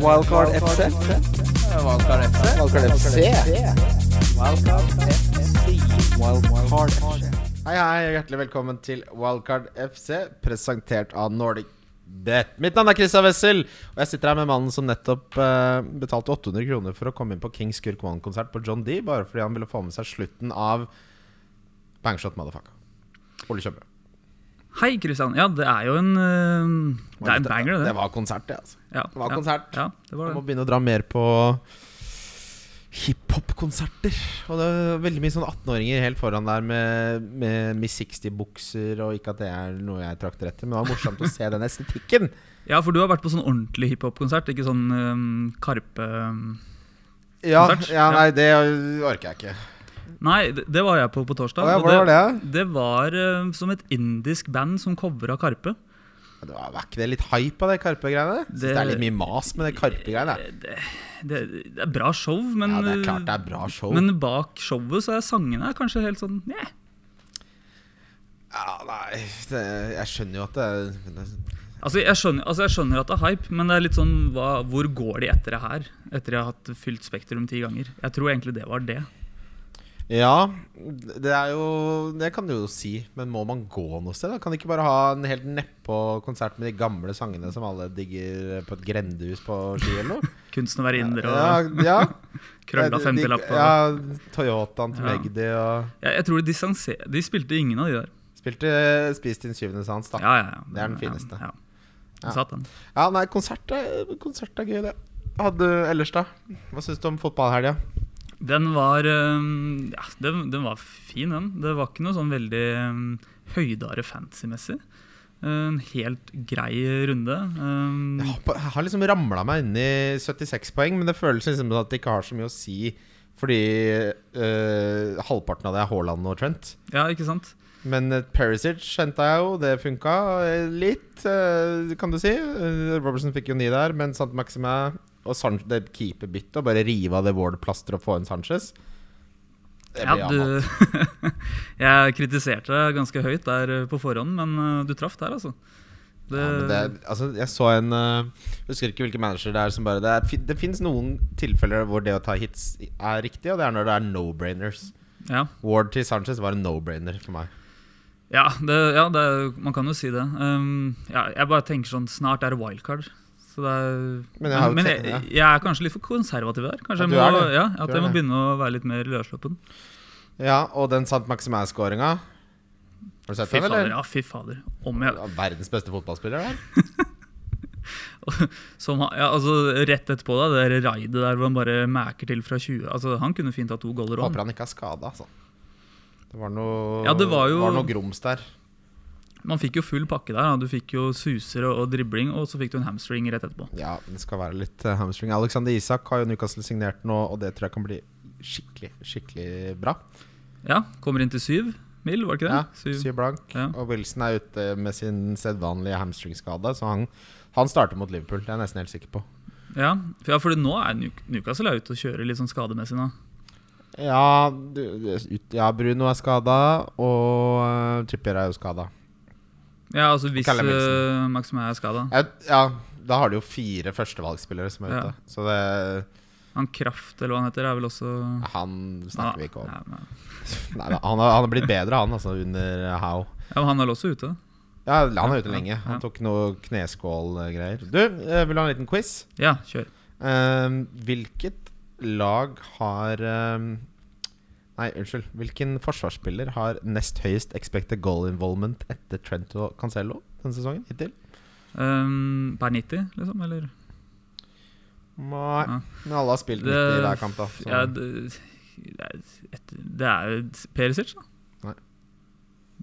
Wildcard FC. Valgkart FC. Wildcard FC. Wildcard FC. Hei, hei, og hjertelig velkommen til Wildcard FC, presentert av Nordic Bet. Mitt navn er Christian Wessel, og jeg sitter her med mannen som nettopp eh, betalte 800 kroner for å komme inn på Kings Kirk One-konsert på John D, bare fordi han ville få med seg slutten av Bangshot Motherfucker. Ole Kjømre. Hei, Kristian. Ja, det er jo en eh, Det er en banger, det. Det var konsert, det, altså. ja, det var ja, konsert. Ja, det var Man må det. begynne å dra mer på hiphop-konserter. Og det er veldig mye sånn 18-åringer helt foran der med, med Miss 60-bukser, og ikke at det er noe jeg trakter etter, men det var morsomt å se den estetikken. Ja, for du har vært på sånn ordentlig hiphop-konsert, ikke sånn eh, Karpe eh. Ja, Konsert? ja, Ja. nei, det orker jeg ikke. Nei, det, det var jeg på på torsdag. Å ja, og hvordan var det? Det var eh, som et indisk band som covra Karpe. Men Det var, var ikke det litt hype av det Karpe-greiene? Syns det Det- er litt mye mas med det Karpe-greiene. jeg. Det, det er bra show, men eh, Ja, det er klart det er bra show. Men bak showet så er sangene kanskje helt sånn Neh. ja, nei, det, jeg skjønner jo at det er Altså jeg, skjønner, altså, jeg skjønner at det er hype, men det er litt sånn hva, Hvor går de etter det her? Etter jeg har hatt fylt Spektrum ti ganger. Jeg tror egentlig det var det. Ja, det er jo Det kan du jo si, men må man gå noe sted? da? Kan de ikke bare ha en helt nedpå konsert med de gamle sangene som alle digger på et grendehus på ski eller noe? Kunsten å være inder og Ja, ja. krølla De- femtilapp. og- Ja, Toyotaen til Ja. Magdi og Jeg, jeg tror de distanser... De spilte ingen av de der. Spilte Spis din syvende sans, da. Ja, ja, ja. Det er den fineste. Ja, Ja. ja. Satan. Ja, nei, konsert er, konsert er gøy, det. Hadde ellers, da? Hva syns du om fotballhelga? Den var øhm, Ja, den, den var fin, den. Det var ikke noe sånn veldig øhm, høydere fantasy-messig. En helt grei runde. Um, Øhm, Jeg har på- jeg har liksom ramla meg inn i 76 poeng, men det føles liksom som at det ikke har så mye å si. Fordi eh, halvparten av det er Haaland og Trent. ja, ikke sant? Men eh, Perisic henta jeg jo, det funka eh, litt, eh, kan du si. Eh, Robertson fikk jo ni der, men Sant Maxima og San det keeperbyttet, og bare rive av det Ward-plasteret og få inn Sanchez Det Ja, blir annet. du Jeg kritiserte deg ganske høyt der øh, på forhånd, men øh, du traff der, altså. Det, Ja, men det, altså, jeg så en eh, Husker ikke hvilken manager det er som bare Det, er, fi- det fins noen tilfeller hvor det å ta hits er riktig, og det er når det er no-brainers. ja. Ward til Sanchez var en no-brainer for meg. Ja, det, ja det, man kan jo si det. Um, ja, jeg bare tenker sånn Snart er det wildcard. Så det er, Men jeg har jo men tenkt- ja. jeg, jeg er kanskje litt for konservativ der. Ja, Kanskje du jeg må, er det. ja, Du At er jeg må det. begynne å være litt mer løssluppen. Ja, og den Sant Maximair-skåringa Har du sett Fy den, fader. eller? ja, fy fader Om jeg, Ja, Verdens beste fotballspiller, der. som, han- ja, altså, rett etterpå, da, det der raidet der hvor han bare mæker til fra 20 Altså, Han kunne fint hatt to goller òg. Håper han ikke er skada, altså. Det var noe, Ja, det var jo- noe grums der. Man fikk jo full pakke der. Da. Du fikk jo suser og, og dribling, og så fikk du en hamstring rett etterpå. Ja, det skal være litt eh, hamstring. Alexander Isak har jo Newcastle signert nå, og det tror jeg kan bli skikkelig, skikkelig bra. Ja, Kommer inn til syv mil, var det ikke det? Ja, syv blank. Ja. Og Wilson er ute med sin sedvanlige hamstringskade, så han, han starter mot Liverpool. Det er jeg nesten helt sikker på. Ja, for, ja, for nå er Newc- Newcastle er ute og kjører litt sånn skademessig nå. Ja, du- det- ut- ja Bruno er skada, og eh, Trippier er jo skada. Ja, altså hvis Callum Wilson. uh, Maxim er skada. Ja, ja, da har de jo fire førstevalgsspillere som er Ja. ute. Så det Han Kraft, eller hva han heter, er vel også Han snakker vi ikke om. Ja, nei, nei. Nei, da, han, har, han har blitt bedre, han, altså, under How. Ja, men han er vel også ute. Ja, han er ute Ja, lenge. ja. Han tok noe kneskålgreier. Du, eh, vil du ha en liten quiz? Ja, kjør. Ehm, hvilket lag har ehm, Nei, unnskyld. Hvilken forsvarsspiller har nest høyest expected goal involvement etter Trent og Cancelo denne sesongen hittil? Um, per 90, liksom? Eller? Nei, Ja. men alle har spilt Det- 90 i hver kamp, da. Så. Ja, det, det er et, det er jo Perisic, da.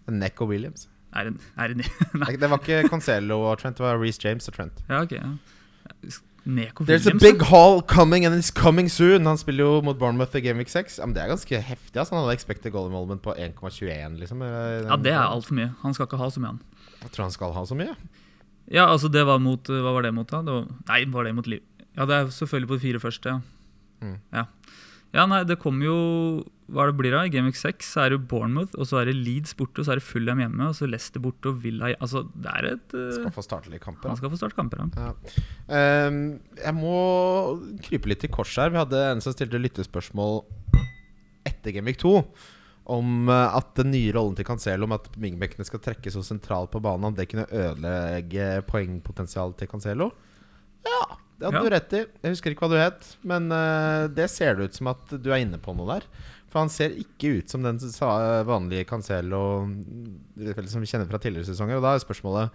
Neck og Williams. Er det, er det, Nei, Det var ikke Cancelo og Trent, det var Reece James og Trent. ja, ok. Ja. Neko There's a Williams, big haul coming and it's coming soon. Han spiller jo mot Bournemouth i Gameweek 6. Ja, men det er ganske heftig. Altså. Han hadde expected goal involvement på 1,21, liksom. da. Ja, det er altfor mye. Han skal ikke ha så mye, han. Jeg tror han skal ha så mye. Ja, altså, det var mot uh, Hva var det mot, da? Det var, nei, var det mot Liv? Ja, det er selvfølgelig på de fire første, ja. Mm. ja. Ja, nei, det kommer jo Hva er det blir av? I Game Week 6 så er det Bournemouth, og så er det Leeds borte, og så er det Fulham hjemme, og så Leicester borte og Villa hj- Altså, det er et eh, Skal få starte litt kamper. Han da. skal få starte kamper, han. Ja. Ehm, jeg må krype litt til kors her. Vi hadde en som stilte lyttespørsmål etter Gamvik 2 om eh, at den nye rollen til Cancelo om at wingbackene skal trekke så sentralt på banen, om det kunne ødelegge poengpotensialet til Cancelo. Ja, det hadde Ja. du rett i. Jeg husker ikke hva du het, men eh, det ser det ut som at du er inne på noe der. For han ser ikke ut som den sa- vanlige Cancelo mm, som vi kjenner fra tidligere sesonger. Og da er spørsmålet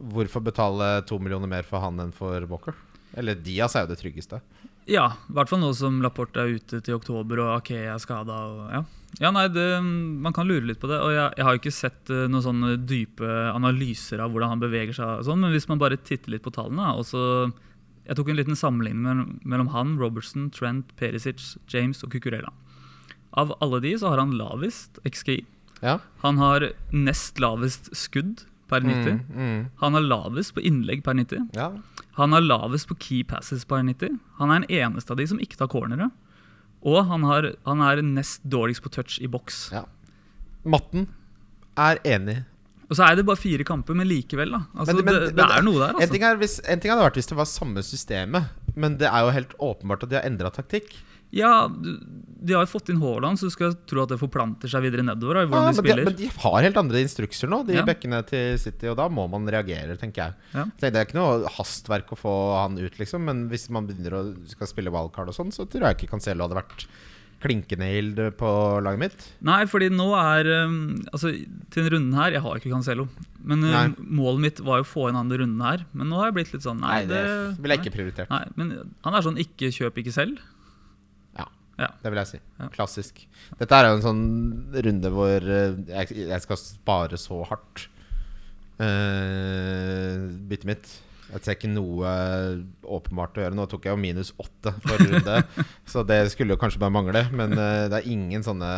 hvorfor betale to millioner mer for han enn for Walker? Eller Diaz er jo det tryggeste. Ja, i hvert fall nå som Laporte er ute til oktober og Akea er skada. Ja. ja, nei, det, man kan lure litt på det. Og jeg, jeg har jo ikke sett eh, noen sånne dype analyser av hvordan han beveger seg, og sånn, men hvis man bare titter litt på tallene da, og så Jeg tok en liten sammenligning mellom, mellom han, Robertson, Trent, Perisic, James og Cucurella. Av alle de så har han lavest XGI. Ja. Han har nest lavest skudd per 90. Mm, Han har lavest på innlegg per 90. ja. Han er lavest på key passes per 90. Han er den eneste av de som ikke tar cornere. Og han, har, han er nest dårligst på touch i boks. Ja. Matten er enig. Og så er det bare fire kamper, men likevel, da. Altså, Men- men- det, det men- er noe der, En, ting altså. er hvis, en ting hadde vært hvis det var samme systemet, men det er jo helt åpenbart at de har endra taktikk. Ja, du- de har jo fått inn Haaland, så du skal tro at det forplanter seg videre nedover. Da, i hvordan Ja, men, de de, spiller. men de har helt andre instrukser nå, de Ja. bekkene til City, og da må man reagere, tenker jeg. Ja. Så Det er ikke noe hastverk å få han ut, liksom, men hvis man begynner å skal spille wildcard og sånn, så tror jeg ikke Cancelo hadde vært klinkende ild på laget mitt. Nei, fordi nå er um, Altså, til denne runden her Jeg har ikke Cancelo. Men um, Nei. målet mitt var jo å få inn han denne runden her. Men nå har jeg blitt litt sånn Nei, Nei, det ville jeg ikke prioritert. Nei, men han er sånn ikke kjøp, ikke selv. Ja. Ja. Det vil jeg si. Ja. Klassisk. Dette er jo en sånn runde hvor eh, jeg, jeg skal spare så hardt. Uh, byttet mitt. Jeg ser ikke noe åpenbart å gjøre. Nå tok jeg jo minus åtte forrige runde, så det skulle jo kanskje bare mangle. Men eh, det er ingen sånne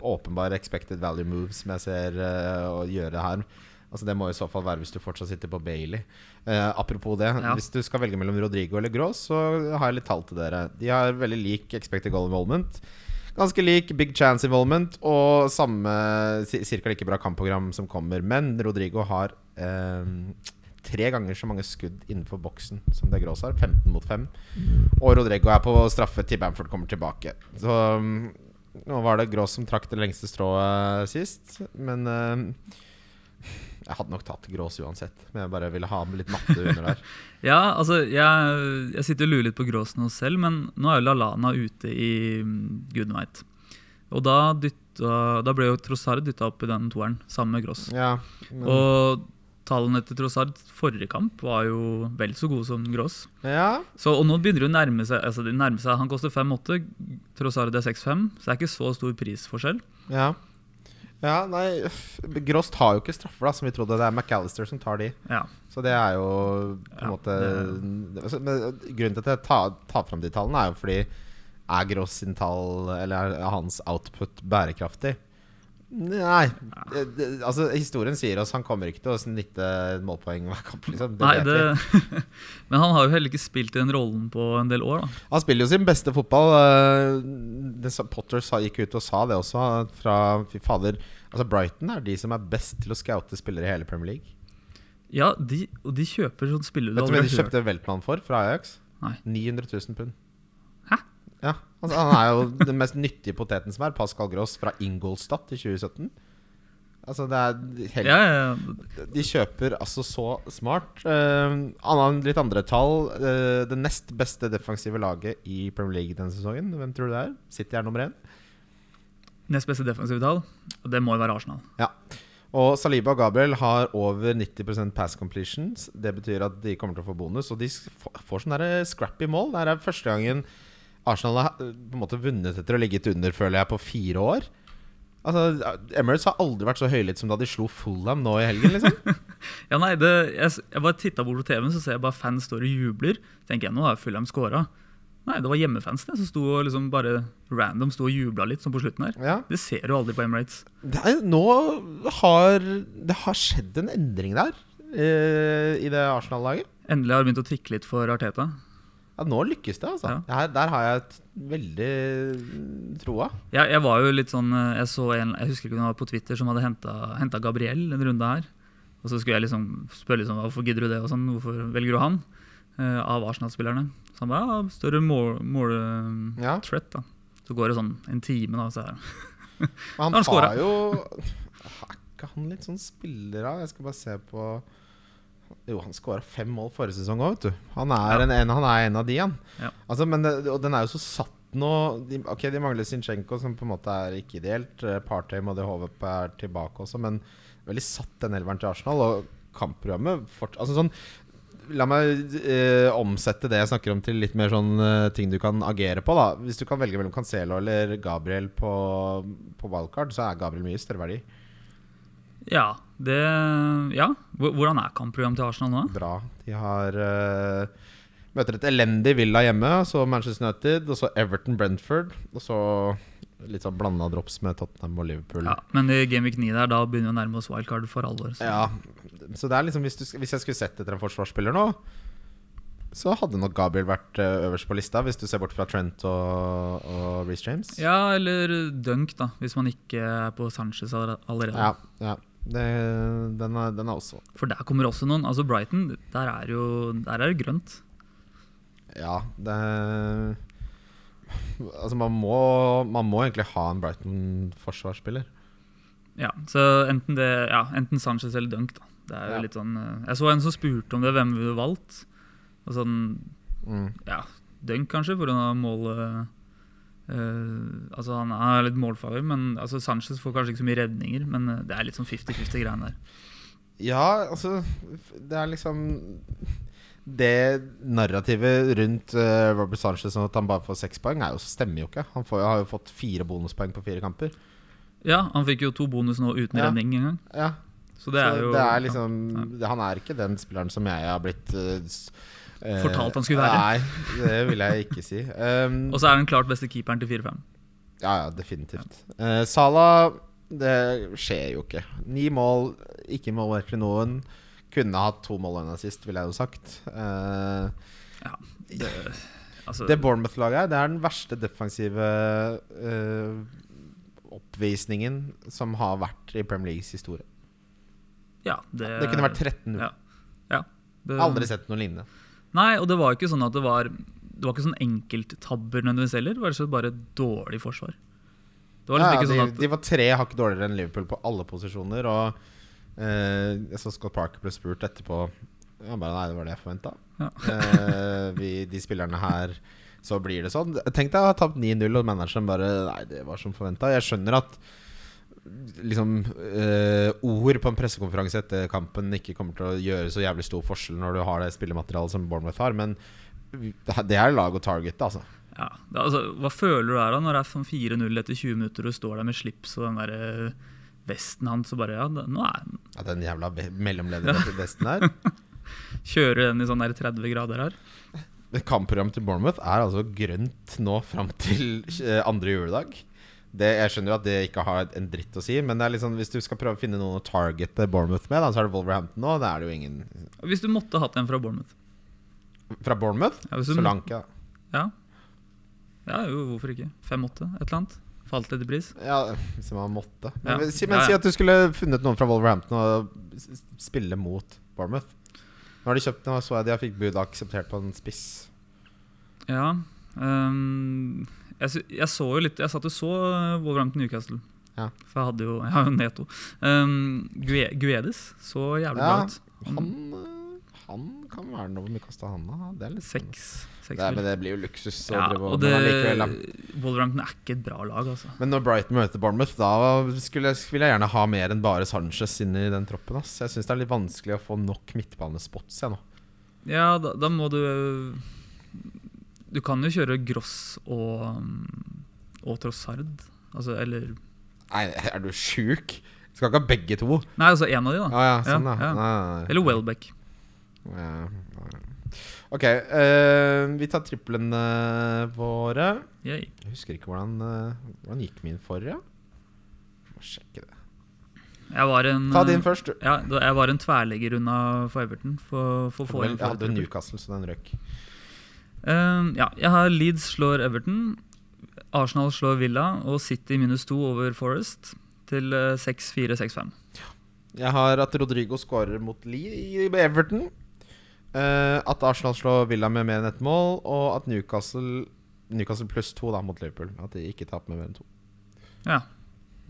åpenbare expected value moves som jeg ser eh, å gjøre her. Altså Det må i så fall være hvis du fortsatt sitter på Bailey. Eh, apropos det, Ja. hvis du skal velge mellom Rodrigo eller Gross, så har jeg litt tall til dere. De har veldig lik expected goal involvement. Ganske lik big chance involvement og samme ca. like bra kampprogram som kommer. Men Rodrigo har eh, tre ganger så mange skudd innenfor boksen som det Gross har. 15 mot 5. Og Rodrigo er på straffe til Bamford kommer tilbake. Så mm, nå var det Gross som trakk det lengste strået sist, men eh, Jeg hadde nok tatt Gross uansett, men jeg bare ville ha med litt matte under der. Ja, altså jeg, jeg sitter og lurer litt på Grås nå selv, men nå er jo Lallana ute i mm, gudene veit. Og da, dytta, da ble jo Trossard dytta opp i den toeren, sammen med Gross. Ja, men, Og tallene til Trossard forrige kamp var jo vel så gode som Gross. ja. Så, og nå begynner det å nærme seg, altså det nærmer seg Han koster 5,8, Trossard er 6,5, så det er ikke så stor prisforskjell. ja. Ja, nei øff, Gross tar jo ikke straffer, da, som vi trodde. Det er McAllister som tar de. Ja. Så det er jo på en Ja, måte det- altså, men Grunnen til at jeg tar, tar fram de tallene, er jo fordi er Gross sin tall, eller er hans output, bærekraftig? Nei. Det, det, altså, historien sier oss han kommer ikke til å snitte målpoeng hver kamp. Liksom. Det Nei, vet det, vi. men han har jo heller ikke spilt i den rollen på en del år, da. Han spiller jo sin beste fotball. eh, Det, sa- Potter sa, gikk ut og sa det også. Fra, fy fader, altså Brighton er de som er best til å scoute spillere i hele Premier League. Ja, de, og de kjøper sånn spiller du Vet du hva de aldri har hørt. kjøpte Weltmann for fra Ajax? Nei. 900 000 pund. Hæ? Ja, altså, Han er jo den mest nyttige poteten som er. Pascal Gross fra Ingolstadt i 2017. Altså det er helt, Ja, ja, ja. De kjøper altså så smart. Eh, annen, litt andre tall. Eh, det nest beste defensive laget i Premier League denne sesongen. Hvem tror du det er? City er nummer én. Nest beste defensive tall, og det må jo være Arsenal. Ja. Og Saliba og Gabriel har over 90 pass completions. Det betyr at de kommer til å få bonus, og de s- f- får sånn der scrappy mål. Det her er første gangen Arsenal har eh, på en måte vunnet etter å ha ligget under, føler jeg, på fire år. Altså, Emirates har aldri vært så høylytt som da de slo Fulham nå i helgen. liksom Ja, nei, det, jeg, s- jeg bare titta bort på TV-en, så ser jeg bare fans står og jubler. Tenker jeg, nå har Fulham scora. Nei, det var hjemmefans det, som sto og liksom bare random sto og jubla litt, som på slutten her. ja. Det ser du aldri på Emirates. det er, Nå har det har skjedd en endring der, eh, i det Arsenal-laget. Endelig har det begynt å tikke litt for Arteta. Ja, nå lykkes det, altså. Ja. Det Her, der har jeg et veldig troa. Jeg, jeg var jo litt sånn eh, Jeg så en, jeg husker ikke om det var på Twitter som hadde henta Gabriel en runde her. Og så skulle jeg liksom spørre liksom, hvorfor gidder du det, og sånn, hvorfor velger du han? Eh, av Arsenal-spillerne. Så han bare ja, større måltret, Ja. da. Så går det sånn en time, da. Så er det- Men Nå har han han scoret. har jo Er ikke han litt sånn spiller av? Jeg skal bare se på Jo, han skåra fem mål forrige sesong òg, vet du. Han er, en, en, han er en av de, han. Ja. Altså, men det, og den er jo så satt nå. De, ok, de mangler Zinchenko, som på en måte er ikke ideelt. Eh, Partey og det håpet er tilbake også, men veldig satt den elveren til Arsenal. Og kampprogrammet fort, altså sånn, La meg eh, omsette det jeg snakker om til litt mer sånn eh, ting du kan agere på. da Hvis du kan velge mellom Cancelo eller Gabriel på, på wildcard, så er Gabriel mye større verdi. ja, det Ja. Hvor- Hvordan er kampprogram til Arsenal nå? Bra. De har eh, Møter et elendig Villa hjemme, så Manchester United, og så Everton Brentford. Og så litt sånn blanda drops med Tottenham og Liverpool. Ja, men i Gameweek 9 der, da begynner vi å nærme oss wildcard for alvor. Så. Ja, så det er liksom hvis, du, sk- hvis jeg skulle sett etter en forsvarsspiller nå Så hadde nok Gabriel vært eh, øverst på lista Hvis du ser bort fra Trent og, og Reece James Ja, eller dunk, da, hvis man ikke er på Sanchez aller- allerede. ja, ja. Det, den, er, den er også For der kommer også noen. Altså Brighton, der er jo der er det grønt. Ja, det Altså man må, man må egentlig ha en Brighton-forsvarsspiller Ja, så enten, det, ja, enten Sanchez eller Dunk, da. Det er jo Ja. litt sånn eh, Jeg så en som spurte om det, hvem ville du valgt? Og sånn mm. Ja, Dunk kanskje, for han har mål eh, eh, Altså han er litt målfarlig, men altså Sanchez får kanskje ikke så mye redninger. Men eh, det er litt sånn 50-50 greiene der. Ja, altså f- Det er liksom Det narrativet rundt eh, Robert Sanchez og at han bare får seks poeng, er jo, stemmer jo ikke. Han får, jo- har jo fått fire bonuspoeng på fire kamper. Ja, han fikk jo to bonus nå uten Ja. redning engang. Ja, Så det er så jo det ja. er liksom det- Han er ikke den spilleren som jeg har blitt eh, s- eh, Fortalt han skulle være. Nei, det vil jeg ikke si. Um, Og så er han klart beste keeperen til 4-5. Ja, ja, definitivt. Eh, Salah, det skjer jo ikke. Ni mål, ikke målverk til noen. Kunne hatt to mål enn sist, ville jeg jo sagt. Eh, Altså, Det Bournemouth-laget her, det er den verste defensive eh, oppvisningen som har vært i Premier Leagues historie. ja, det, Det kunne vært 13-0. Ja. ja, det- Aldri sett noe lignende. Nei, og det var jo ikke sånn at det var Det var ikke sånn enkelttabber nødvendigvis heller. Det var rett og slett bare et dårlig forsvar. Det var liksom Ja, ikke sånn de, at de var tre hakk dårligere enn Liverpool på alle posisjoner. Og eh, jeg så Scott Parker ble spurt etterpå Han bare Nei, det var det jeg forventa. Ja. de spillerne her Så blir det sånn. Tenk deg å ha tapt 9-0, og manageren bare Nei, det var som forventa. Jeg skjønner at liksom eh, ord på en pressekonferanse etter kampen ikke kommer til å gjøre så jævlig stor forskjell når du har det spillematerialet som Bournemouth har, men det er lag å targete, altså. ja, det, altså, Hva føler du der da når det er sånn 4-0 etter 20 minutter og du står der med slips og den der eh, vesten hans og bare ja, det, nå er, Ja, den jævla be- mellomlederen til Destin her. Kjører den i sånn der 30 grader her? Det Kampprogrammet til Bournemouth er altså grønt nå fram til eh, andre juledag. Det, jeg skjønner jo at det ikke har en dritt å si, men det er liksom, hvis du skal prøve å finne noen å targete Bournemouth med, da, så er det Wolverhampton nå. Det er det jo ingen Hvis du måtte hatt en fra Bournemouth. Fra Bournemouth? Ja, hvis du, Solanke, da. Ja. ja, jo, hvorfor ikke? 5-8, et eller annet. Falt litt i pris. Ja, hvis man måtte. Men, Ja. si, men Ja, ja. si at du skulle funnet noen fra Wolverhampton og s- s- spille mot Bournemouth. Nå har de kjøpt Nå så jeg de har fikk bud akseptert på en spiss. Ja. ehm, jeg, sy- jeg så jo litt Jeg satt og så eh, Wolverhampton Newcastle. Ja. For jeg hadde jo Jeg har jo Neto. Um, Guedes så jævlig Ja. bra ut. Han, eh, han kan være noe hvor mye kosta han, da? Det er litt Seks. seks Nei, mil. men det blir jo luksus. å ja, drive og men det, allikevel, da. Wolverhampton er ikke et bra lag, altså. Men når Brighton møter Bournemouth, da skulle jeg, vil jeg gjerne ha mer enn bare Sanchez inni den troppen. Ass. Jeg syns det er litt vanskelig å få nok midtbanespots jeg nå. Ja, da, da må du Du kan jo kjøre Gross og, um, og Trossard. Altså, eller Nei, er du sjuk? Skal ikke ha begge to. Nei, altså én av de, da. Ja, ja, sånn, ja. Ja, ja. Nei, nei, nei. Eller Welbeck. Ja, ja. Ok, eh, vi tar triplene våre. Yay. Jeg husker ikke hvordan, eh, hvordan gikk min forrige. Må sjekke det. Jeg var en eh, Ta din først, du. Ja, da, jeg var en tverrlegger unna for Everton. For, for å få Jeg inn for hadde Newcastle, så den røk. Eh, ja, jeg har Leeds slår Everton. Arsenal slår Villa og City minus to over Forest til eh, 6-4-6-5. Jeg har at Rodrigo skårer mot Lee i Everton. Eh, at Arsenal slår Villa med mer enn ett mål, og at Newcastle Newcastle pluss to da mot Liverpool. At de ikke taper med mer enn to. Ja,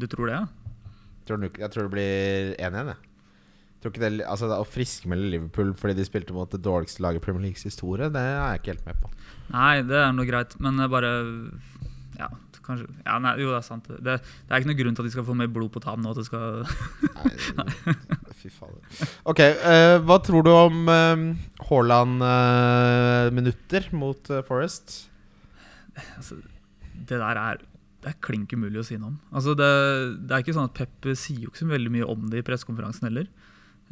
du tror det, ja? Tror New- jeg tror det blir 1-1, jeg. Tror ikke det, altså, å friskmelde Liverpool fordi de spilte mot det dårligste laget i Premier Leagues historie, det er jeg ikke helt med på. Nei, det er noe greit, men jeg bare Ja, kanskje ja, nei, Jo, det er sant. Det, det er ikke noe grunn til at de skal få mer blod på tann nå. At det skal Nei, fy fader. Ok, eh, hva tror du om eh, Haaland-minutter mot eh, Forest? altså, Det der er det er klink umulig å si noe om. Altså det, det er ikke sånn at Pep sier jo ikke så veldig mye om det i pressekonferansen heller.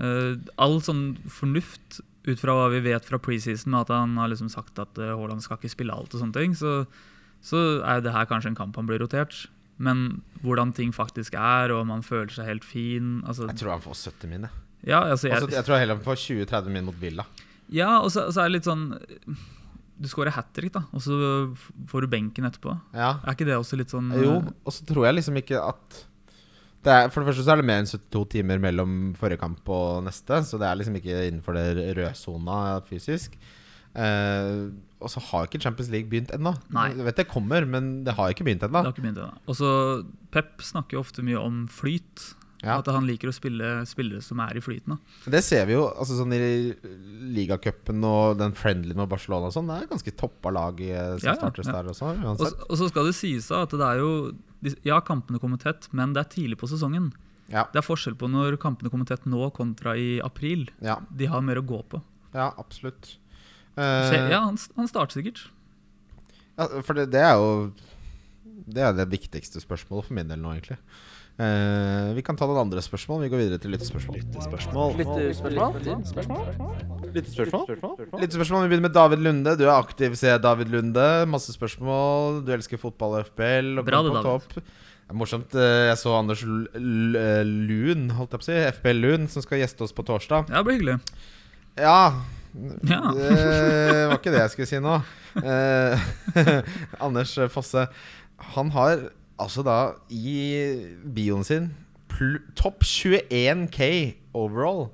Eh, all sånn fornuft ut fra hva vi vet fra preseason, at han har liksom sagt at eh, Haaland skal ikke spille alt og sånne ting, så, så er jo det her kanskje en kamp han blir rotert. Men hvordan ting faktisk er, og om han føler seg helt fin altså, Jeg tror han får 70 min. Jeg, ja, altså, jeg, altså, jeg tror heller han får 20-30 min mot Villa. Ja, og så, og så er det litt sånn Du scorer hat trick, da, og så f- får du benken etterpå. Ja. Er ikke det også litt sånn Jo, og så tror jeg liksom ikke at det er, For det første så er det mer enn 72 timer mellom forrige kamp og neste, så det er liksom ikke innenfor det rødsona fysisk. Eh, og så har ikke Champions League begynt ennå. Nei. Jeg vet det kommer, men det har ikke begynt Det har ennå. ikke begynt ennå. Og så Pep snakker jo ofte mye om flyt. Ja. At han liker å spille spillere som er i flyten. Da. Det ser vi jo altså sånn i ligacupen og den friendlyen med Barcelona og sånn. Det er ganske toppa lag eh, som Ja, ja, startes ja. der også. Og, Uansett. s- og så skal det sies da at det er jo de- Ja, kampene kommer tett, men det er tidlig på sesongen. Ja. Det er forskjell på når kampene kommer tett nå kontra i april. Ja, De har mer å gå på. ja, absolutt. Så, Eh, ja, han, s- han starter sikkert. Ja, for det, det er jo Det er det viktigste spørsmålet for min del nå, egentlig. Eh, vi kan ta noen andre spørsmål. Vi går videre til lyttespørsmål. Lyttespørsmål? Lyttespørsmål. Vi begynner med David Lunde. Du er aktiv, ser jeg, David Lunde. Masse spørsmål. Du elsker fotball og FPL. Og Bra kommer det, på David. topp. Det er morsomt. eh, Jeg så Anders L L Lun, holdt jeg på å si. FPL Lun, som skal gjeste oss på torsdag. Ja, det blir hyggelig. Ja. Ja. Det var ikke det jeg skulle si nå. Eh, Anders Fosse. Han har altså da i bioen sin pl topp 21K overall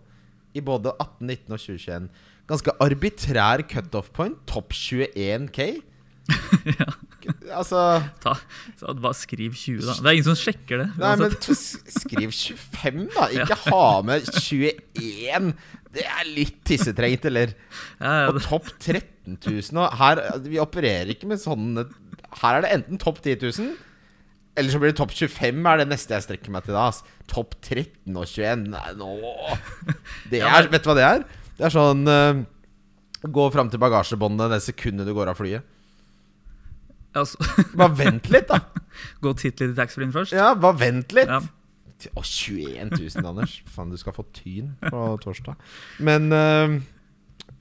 i både 18, 19 og 2021. Ganske arbitrær cutoff point. Topp 21K. Altså Ta, så bare skriv 20, da. Det er ingen som sjekker det. Altså, Nei, men uansett. t- skriv 25, da. Ikke ha med 21. Det er litt tissetrengt, eller? ja, ja, Og topp 13 000 og her, Vi opererer ikke med sånne Her er det enten topp 10 000 Eller så blir det topp 25 Er det neste jeg strekker meg til da ass. Topp 13 og 21 Nei, nå det Ja, er, Vet du hva det er? Det er sånn eh, Gå frem til bagasjebåndet Det sekundet du går av flyet Altså, Bare vent litt da gå og titt litt i taxfree-en først. Ja, bare vent litt Ja. Å, 21 000 Anders Faen, du skal få tyn på torsdag Men eh,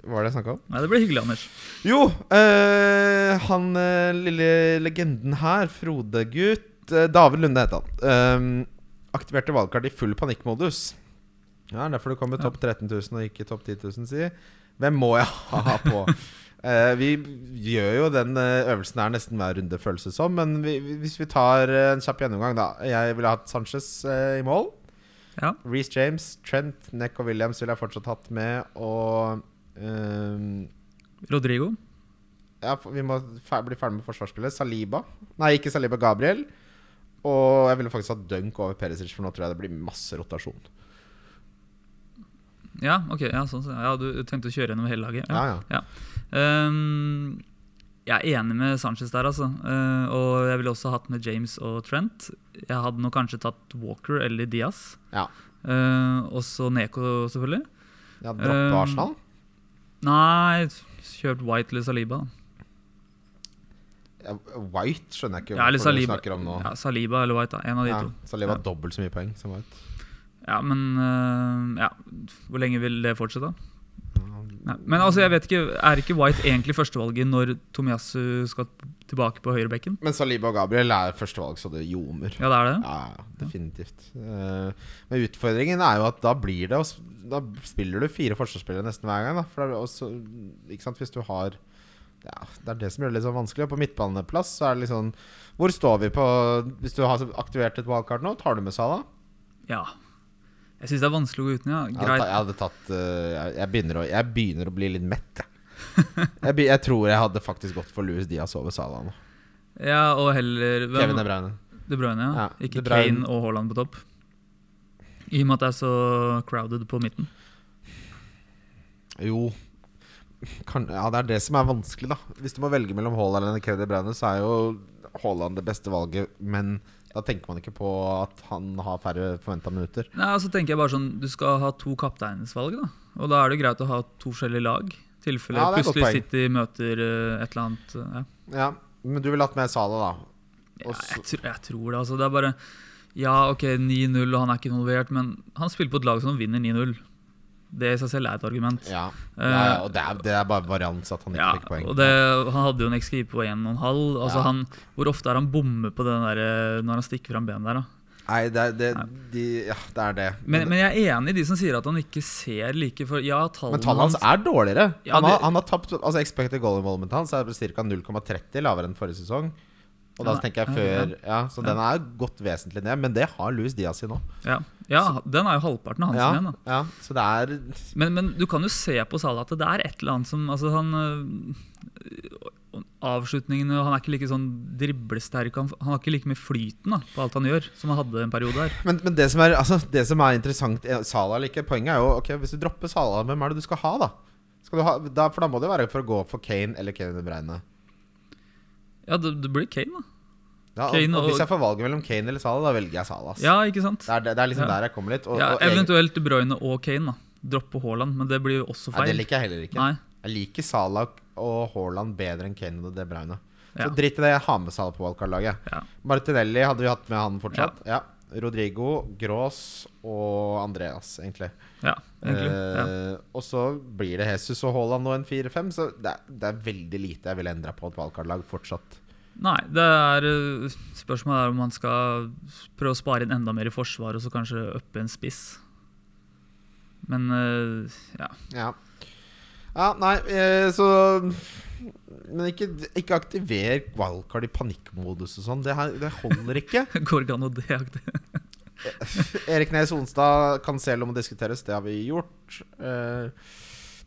Hva var det jeg snakket om? Nei, det blir hyggelig, Anders. Jo, eh, han eh, lille legenden her, Frode-gutt eh, David Lunde heter han. Eh, aktiverte valgkart i full panikkmodus. Ja, derfor du kom med topp 13 000 og ikke topp 10 000, si. Hvem må jeg ha på? Eh, vi gjør jo den eh, øvelsen her nesten hver runde, føles det som. Men vi, vi- hvis vi tar eh, en kjapp gjennomgang, da. Jeg ville hatt Sanchez eh, i mål. Ja. Reece James, Trent, Neck og Williams ville jeg fortsatt hatt med. Og eh, Rodrigo. ja, for- vi må fer bli ferdig med forsvarsspillet. Saliba. Nei, ikke Saliba. Gabriel. Og jeg ville faktisk hatt Dunk over Perisic, for nå tror jeg det blir masse rotasjon. Ja, ok. Ja, sånn, sånn. ja, du tenkte å kjøre gjennom hele laget? Ja, ja. Ehm, jeg er enig med Sanchez der, altså. Eh, og jeg ville også hatt med James og Trent. Jeg hadde nok kanskje tatt Walker eller Diaz. Ja. Eh, og så Neko, selvfølgelig. Jeg hadde droppet Um, Arsenal. Nei, kjørt White eller Saliba. da. Ja, White skjønner jeg ikke Ja, eller hvorfor du Saliba. snakker om nå. Ja, Saliba eller White, da. en av de Ja, to. Saliba har Ja. dobbelt så mye poeng som White. Ja, men eh, ja. Hvor lenge vil det fortsette? Ja, Nei, men altså, jeg vet ikke, Er ikke White egentlig førstevalget når Tomiyasu skal tilbake på høyrebekken? Men Saliba og Gabriel er førstevalg, så det ljomer. Ja, det er det. Ja, ja, definitivt. Eh, men utfordringen er jo at da blir det å sp- Da spiller du fire forsvarsspillere nesten hver gang. Da, for det er også, ikke sant? Hvis du har ja, det er det som gjør det litt sånn vanskelig. Og på midtbaneplass så er det litt sånn Hvor står vi på Hvis du har aktivert et wildcard nå, tar du med Salah? Ja. Jeg syns det er vanskelig å gå uten, ja. Jeg hadde, ta- Greit. jeg hadde tatt eh, jeg, jeg, begynner å, jeg begynner å bli litt mett, jeg. jeg. be- Jeg tror jeg hadde faktisk gått for Louis Diaz over Salah nå. Ja, og heller hvem- Kevin De Bruyne. De Bruyne, ja. Ja, De Ikke Bruyne. Kane og Haaland på topp. I og med at det er så crowded på midten. Jo kan, Ja, det er det som er vanskelig, da. Hvis du må velge mellom Haaland eller Kevin De Bruyne, så er jo Haaland det beste valget, men da tenker man ikke på at han har færre forventa minutter. Nei, altså tenker jeg bare sånn, Du skal ha to kapteinsvalg, da. Og da er det greit å ha to forskjellige lag. I tilfelle Ja, det er et godt plutselig poeng. City møter eh, et eller annet eh, ja. Ja, men du ville hatt med Salah, da. Ja, Og så- jeg, tr jeg tror det. altså Det er bare Ja, OK, 9-0, og han er ikke involvert, men han spiller på et lag som vinner 9-0. Det i seg selv er et argument. Ja, ja, ja og det er, det er bare varians at han ikke Eh, Ja, fikk poeng. og det, Han hadde jo en XGI på 1,5. Altså Ja. han, hvor ofte er han bomme på den der, eh, når han stikker fram benet der? da? Nei, det er det, de, ja, det, er det. Men, men jeg er enig i de som sier at han ikke ser like for Ja, tallene Men tallet hans er dårligere. Ja, han, har, det- han har tapt Altså Expected goal involvement hans er ca. 0,30 lavere enn forrige sesong. Og da Ja, tenker jeg ja, før Ja, Så den er gått vesentlig ned, men det har Louis Diaz i nå. ja, ja, den er jo halvparten av hans Ja, igjen. da. ja, så det er Men, men du kan jo se på Salah at det er et eller annet som altså han, øh, Avslutningene Han er ikke like sånn driblesterk. Han, han har ikke like mye flyten da, på alt han gjør, som han hadde en periode her. Men, men det, som er, altså, det som er interessant eh, Salah eller ikke, poenget er jo Ok, Hvis du dropper Salah, hvem er det du skal ha, da? Skal du ha, da for da må det jo være for å gå for Kane eller Kevin De Bruyne. Ja, det, det blir Kane, da. Ja, og, Kane og og- hvis jeg får valget mellom Kane eller Salah, da velger jeg Salah. ass. Ja, ikke sant? Det, er, det er liksom Ja. der jeg kommer litt. Og, Ja, og egen- eventuelt De Bruyne og Kane. da Droppe Haaland, men det blir jo også Nei, feil. det liker jeg heller ikke. Nei. Jeg liker Salah og Haaland bedre enn Kane og De Bruyne. Så Ja. drit i det, jeg har med Salah på wildcard-laget. Ja. Martinelli hadde vi hatt med han fortsatt. Ja. Rodrigo, Gross og Andreas, egentlig. Ja, egentlig. ja. Eh, og så blir det Jesus og Haaland og en 4-5, så det er, det er veldig lite jeg ville endra på et wildcard-lag fortsatt. Nei, det er øh, spørsmålet er om man skal prøve å spare inn enda mer i forsvaret og så kanskje uppe en spiss. Men øh, ja. Ja. ja nei, eh, så Men ikke, ikke aktiver wildcard i panikkmodus og sånn. Det, her- det holder ikke. Går ikke an å deaktivere Erik Nes Onstad, Cancelo må diskuteres. Det har vi gjort. Eh,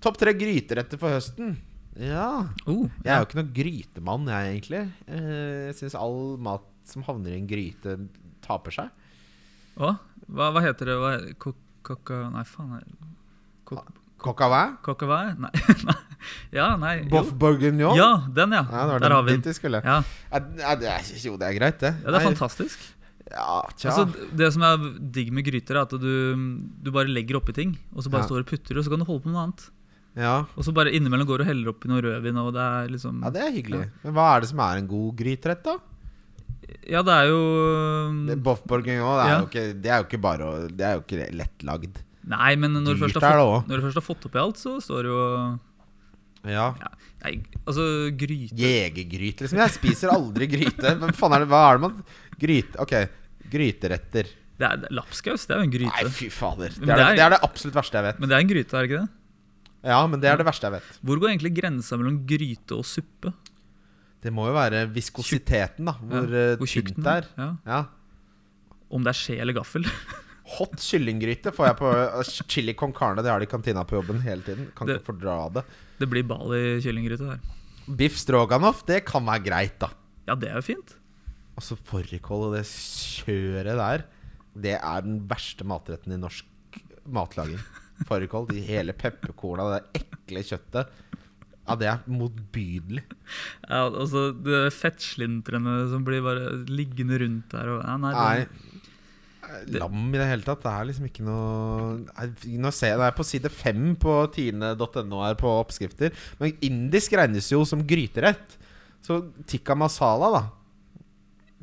Topp tre gryteretter for høsten. Ja. oh, Jeg er jo ikke noen grytemann, jeg, egentlig. Eh, jeg syns all mat som havner i en gryte, taper seg. Å, hva, hva heter det? Hva, kok, koka, nei, faen. er det- Kok, Coq au vin? kokavær? Nei. ja, nei. jo. Boff bourguignon? Ja, den, ja. Ja, det var Der har vi dit den. vi skulle. Ja, Ja, det er- jo, det er greit, det. ja, det er Nei, fantastisk. Ja, tja. Altså, det som er digg med gryter, er at du, du bare legger oppi ting, og så bare Ja. står og putter, og så kan du holde på med noe annet. ja. Og så bare innimellom går du og heller oppi noe rødvin, og det er liksom ja, det er hyggelig. Men hva er det som er en god gryterett, da? Ja, det er jo Det- Boff bourguignon det er, Ja. jo ikke, det er jo ikke bare å Det er jo ikke lettlagd. Nei, men når du, Dyrt er først har det fått, også. når du først har fått oppi alt, så står det jo Ja. Nei, altså, gryte Jegergryte, liksom. Jeg spiser aldri gryte. Hva faen er det, hva er det man Gryte Ok, gryteretter. Det er det er Lapskaus, det er jo en gryte. Nei, fy fader. Det Men er det er- det, det er det absolutt verste jeg vet. Men det er en gryte, er det ikke det? Ja, men det er det verste jeg vet. Hvor går egentlig grensa mellom gryte og suppe? Det må jo være viskositeten, da. Hvor, eh, tjukt tynt den det er. Ja. Ja. Om det er skje eller gaffel. Hot kyllinggryte får jeg på eh, chili con carne. Det har de i kantina på jobben hele tiden. Kan Det- ikke fordra det. Det blir Bali kyllinggryte der. Biff stroganoff, det kan være greit, da. Ja, det er jo fint. Altså fårikål og det kjøret der, det er den verste matretten i norsk matlaging. Fårikål, de hele pepperkorna, det ekle kjøttet. Ja, det er motbydelig. Ja, altså, det Fettslintrene som blir bare liggende rundt der og ja, Nei. Nei. det- Lam i det hele tatt. Det er liksom ikke noe Nei, Nå ser jeg det er på side fem på tine.no her på oppskrifter. Men indisk regnes jo som gryterett. Så tikka masala, da.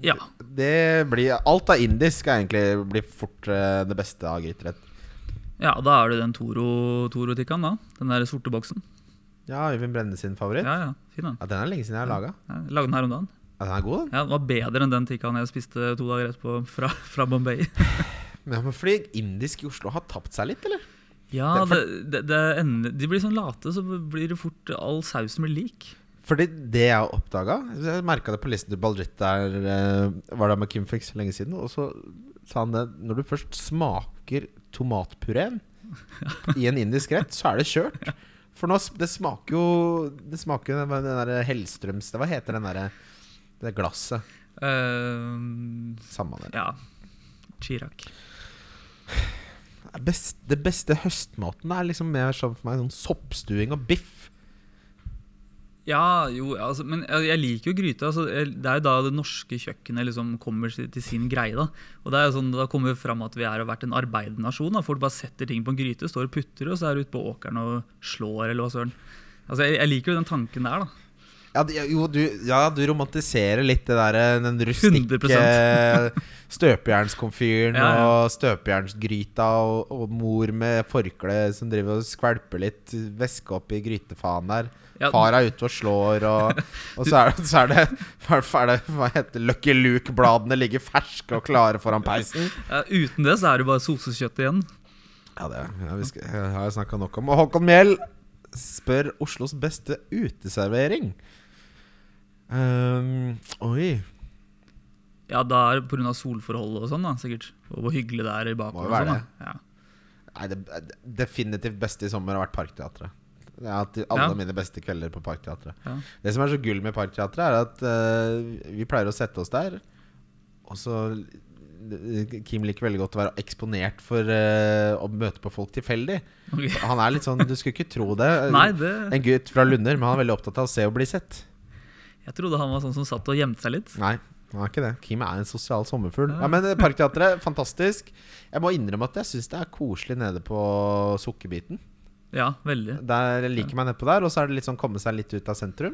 Ja. Det blir Alt av indisk er egentlig blir fort eh, det beste av gryterett. ja, da er det den Toro- Toro-tikkaen, da. Den der sorte boksen. Ja, Øyvind Brenne sin favoritt. Ja. Ja, ja, fin den. Den er lenge siden jeg har laga. Ja, jeg Lagde den her om dagen. Ja, den er god, den. Ja, Den var bedre enn den tikkaen jeg spiste to dager etterpå fra, fra Bombay. Men jeg må fordi indisk i Oslo har tapt seg litt, eller? Ja, det, det, det ender, De blir sånn late, så blir det fort All sausen blir lik. Fordi det jeg oppdaga Jeg merka det på listen til Baljit der eh, var der med Kim for ikke så lenge siden. Og så sa han det Når du først smaker tomatpureen i en indisk rett, så er det kjørt. For nå, s- det smaker jo Det smaker jo den der Hellstrøms Hva heter den derre det glasset? Eh, Samme det. ja. Chirac. Det Best, det beste høstmaten er liksom mer sånn for meg sånn soppstuing og biff. Ja, jo, altså, men jeg jeg liker jo gryte. Altså, jeg- det er jo da det norske kjøkkenet liksom kommer si- til sin greie. Da Og det er jo sånn, da kommer vi fram at vi er og vært en arbeidernasjon. Da. Folk bare setter ting på en gryte, står og putter, og så er du ute på åkeren og slår, eller hva søren. Altså, jeg, jeg liker jo den tanken der, da. Ja, det- jo, du, ja, du romantiserer litt det der, eh, den rustikke støpejernskomfyren Ja, ja. og støpejernsgryta og, og mor med forkle som driver og skvelper litt væske oppi grytefaen der. Ja. Far er ute og slår, og, og så, er det, så er det Hva er det hva heter det, Lucky Luke-bladene ligger ferske og klare foran peisen. Eh, uten det så er det bare sosekjøtt igjen. Ja, det ja, vi skal, har jeg snakka nok om. Og Håkon Mjell spør Oslos beste uteservering. Ehm, oi. Ja, da er det pga. solforholdet og sånn, da, sikkert. Og hvor hyggelig det er i Må bakgrunnen. jo være og sånn, da. Ja. Nei, det det definitivt beste i sommer har vært Parkteatret. Jeg har hatt alle Ja. mine beste kvelder på Parkteatret. Ja. Det som er så gull med Parkteatret, er at eh, vi pleier å sette oss der, og så eh, Kim liker veldig godt å være eksponert for eh, å møte på folk tilfeldig. Ok. Han er litt sånn Du skulle ikke tro det. Nei, det, En gutt fra Lunder, men han er veldig opptatt av å se og bli sett. jeg trodde han var sånn som satt og gjemte seg litt. Nei, han er ikke det. Kim er en sosial sommerfugl. Ja. Ja, men Parkteatret, fantastisk. Jeg må innrømme at jeg syns det er koselig nede på Sukkerbiten. Ja, veldig. Der jeg liker meg nedpå der, og så er det litt sånn komme seg litt ut av sentrum.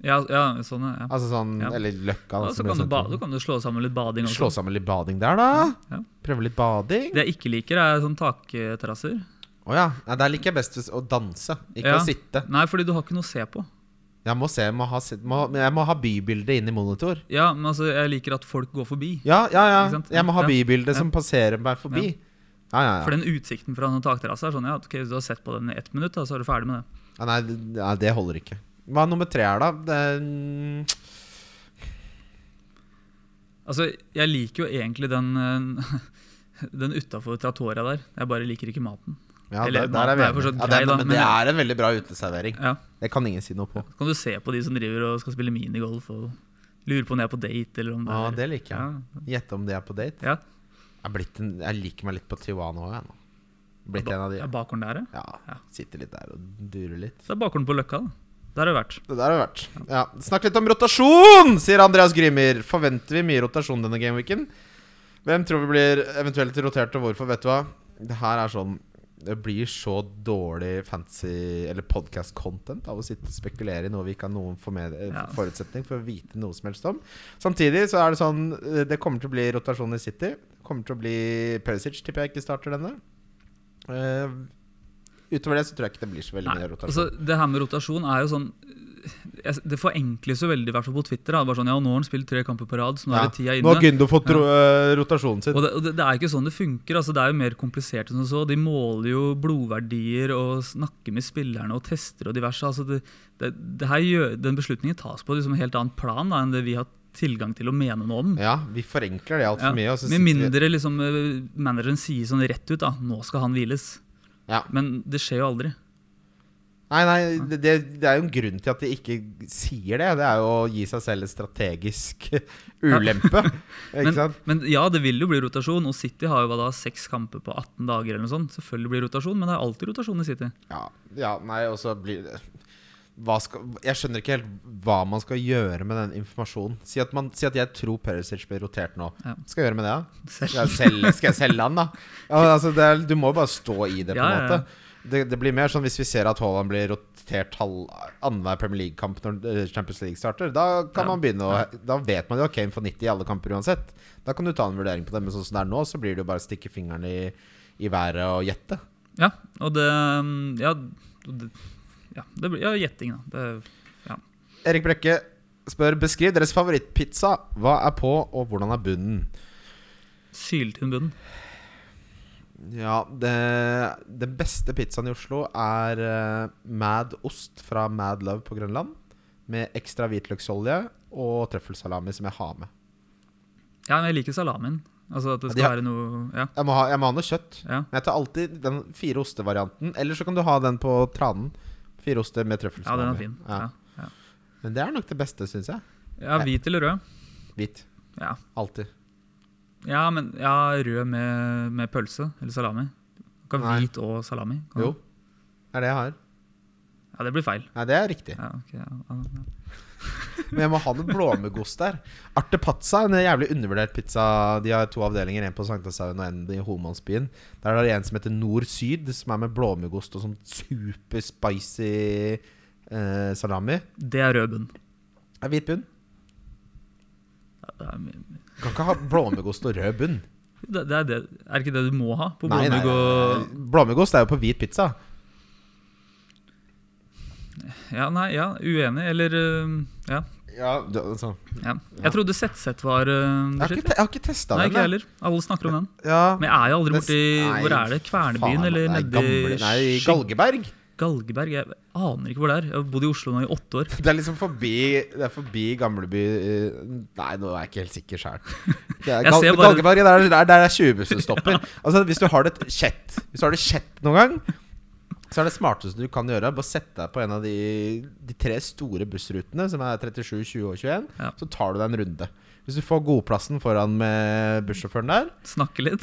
Ja, ja sånn, ja. Altså sånn, Ja. Eller Løkka. da, Ja, så som blir kan du, ba, sentrum. da kan du slå sammen litt bading også. Slå sammen litt bading der, da. Ja. Prøve litt bading. Det jeg ikke liker, er sånn takterrasser. Å ja. Nei, der liker jeg best hvis- å danse, ikke Ja. å sitte. Nei, fordi du har ikke noe å se på. Jeg må se, jeg må ha, sit- må, jeg må ha bybildet inn i monitor. Ja, men altså, jeg liker at folk går forbi. Ja, ja, Ikke ja. sant? Jeg må ha Ja. bybildet som passerer meg forbi. Ja, ja, ja. For den utsikten fra en takterrasse er sånn ja, ok, du har sett på den i ett minutt, da, så er du ferdig med det. Ja, nei, det- nei, det holder ikke. Hva er nummer tre her, da? Det er, mm, Altså, jeg liker jo egentlig den eh, Den utafor Trattoria der. Jeg bare liker ikke maten. ja, Eller, der, der er vi det er enige. fortsatt ja, grei, det, da, men men- det er en veldig bra uteservering. Ja. Det kan ingen si noe på. Så kan du se på de som driver og skal spille minigolf og lurer på om de er på date, eller om det Ja, er det liker jeg. Gjette om det er på date. Ja. Jeg, er blitt en, jeg liker meg litt på Tijuana òg, jeg nå. Blitt en av de. Ja, bakgården der, ja. Ja, Sitter litt der og durer litt. Så er bakgården på Løkka, da. Der har du vært. Det der har det vært. Ja. Snakk litt om rotasjon, sier Andreas Grimmer. Forventer vi mye rotasjon denne gameweeken? Hvem tror vi blir eventuelt rotert, og hvorfor? Vet du hva? Det her er sånn Det blir så dårlig fancy Eller podcast content av å sitte og spekulere i noe vi ikke har noen for med, eh, Ja. forutsetning for å vite noe som helst om. Samtidig så er det sånn eh, Det kommer til å bli rotasjon i City. Det kommer til å bli Perisic, tipper jeg ikke starter denne. Eh, utover det så tror jeg ikke det blir så veldig mye rotasjon. Altså, det her med rotasjon er jo sånn jeg- Det forenkles jo veldig, i hvert fall på Twitter. Da. Bare sånn, ja, nå har han spilt tre kamper på rad, så nå Ja. er det tida Nå har inne. Gundo fått ro- eh, rotasjonen sin. Og det, og det, det er jo ikke sånn det funker. Altså, det er jo mer komplisert enn som så. De måler jo blodverdier og snakker med spillerne og tester og diverse. Altså, det, det, det her gjør, den beslutningen tas på liksom, en helt annen plan da, enn det vi har tilgang til å mene noe om. Ja, vi forenkler det altfor Ja. for mye. Og så sitter Med mindre liksom, eh, manageren sier sånn rett ut da, 'nå skal han hviles'. Ja. Men det skjer jo aldri. vi, Nei, nei, det- det, det er jo en grunn til at de ikke sier det. Det er jo å gi seg selv en strategisk ulempe. ikke sant? Men ja, det vil jo bli rotasjon, og City har jo hva da, seks kamper på 18 dager. eller noe sånt. Selvfølgelig blir det rotasjon, men det er alltid rotasjon i City. Ja, ja, nei, og så blir det hva skal, Jeg skjønner ikke helt hva man skal gjøre med den informasjonen. Si at, man, si at jeg tror Perisic blir rotert nå. Ja. Hva skal jeg gjøre med det, da? Selv. Skal jeg selge, skal jeg selge han, da? Ja, men altså, det er, du må jo bare stå i det, på en Ja, ja, ja. måte. Det, det blir mer sånn hvis vi ser at Haaland blir rotert halv- annenhver Premier League-kamp når eh, Champions League starter. Da kan Ja. man begynne å Da vet man jo at Kane får 90 i alle kamper uansett. Da kan du ta en vurdering på det, men sånn som det er nå, så blir det jo bare å stikke fingeren i, i været og gjette. Ja, og det mm, Ja, det, ja, det blir ja, gjetting, da. Det, Erik Brekke spør Beskriv deres favorittpizza. Hva er på, og hvordan er bunnen? Syltynn bunn. Ja, det, Den beste pizzaen i Oslo er eh, Mad Ost fra Mad Love på Grønland. Med ekstra hvitløksolje og trøffelsalami som jeg har med. Ja, men jeg liker salamien. Altså at Ja, det skal de har- være noe Ja. Jeg må ha, jeg må ha noe kjøtt. ja. Men jeg tar alltid den fire ostevarianten. Eller så kan du ha den på tranen. Fire oster med Ja, trøffelsalami. den er fin. Ja. Ja. Men det er nok det beste, syns jeg. ja, Hvit eller rød? Hvit. Ja. Alltid. Ja, men ja, rød med, med pølse eller salami. Du kan Nei. hvit og salami. Kan du? Jo. Det er det jeg har. Ja, det blir feil. Nei, det er riktig. Ja, ok, ja, ja, ja. Men jeg må ha noe blåmuggost der. Arte Pazza, en jævlig undervurdert pizza. De har to avdelinger, en på Sankthanshaugen og en i Homansbyen. Der er det en som heter Nord-Syd, som er med blåmuggost og sånn superspicy eh, salami. Det er rød bunn. Det er hvit bunn. Ja, det, er, Kan ikke ha blåmuggost og rød bunn. det, det er det Er det ikke det du må ha på Nei, nei, blåmugg og nei. Blåmuggost er jo på hvit pizza. Ja, nei, ja, uenig, eller øhm, ja. Ja, det, altså. ja. Jeg trodde ZZ var jeg, øhm, det har shit. ikke, te- jeg har ikke testa Nei, den. ikke jeg jeg. heller. Alle snakker om den. Ja. Men jeg er jo aldri Det s- borti nei, Hvor er det? Kvernebyen, faen, eller nei, nedi gamle- Nei, Skyg- Galgeberg. Galgeberg? Jeg aner ikke hvor det er. Jeg har bodd i Oslo nå i åtte år. Det er liksom forbi Det er forbi Gamleby eh, Nei, nå er jeg ikke helt sikker sjøl. Jeg ser bare- Galgeberget, der, der, der er 20-bussen stopper. Altså, hvis du har det kjett Hvis du har det kjett noen gang, så er det smarteste du kan gjøre, bare sette deg på en av de, de tre store bussrutene, som er 37, 20 og 21, Ja. så tar du deg en runde. Hvis du får godplassen foran med bussjåføren der Snakke litt.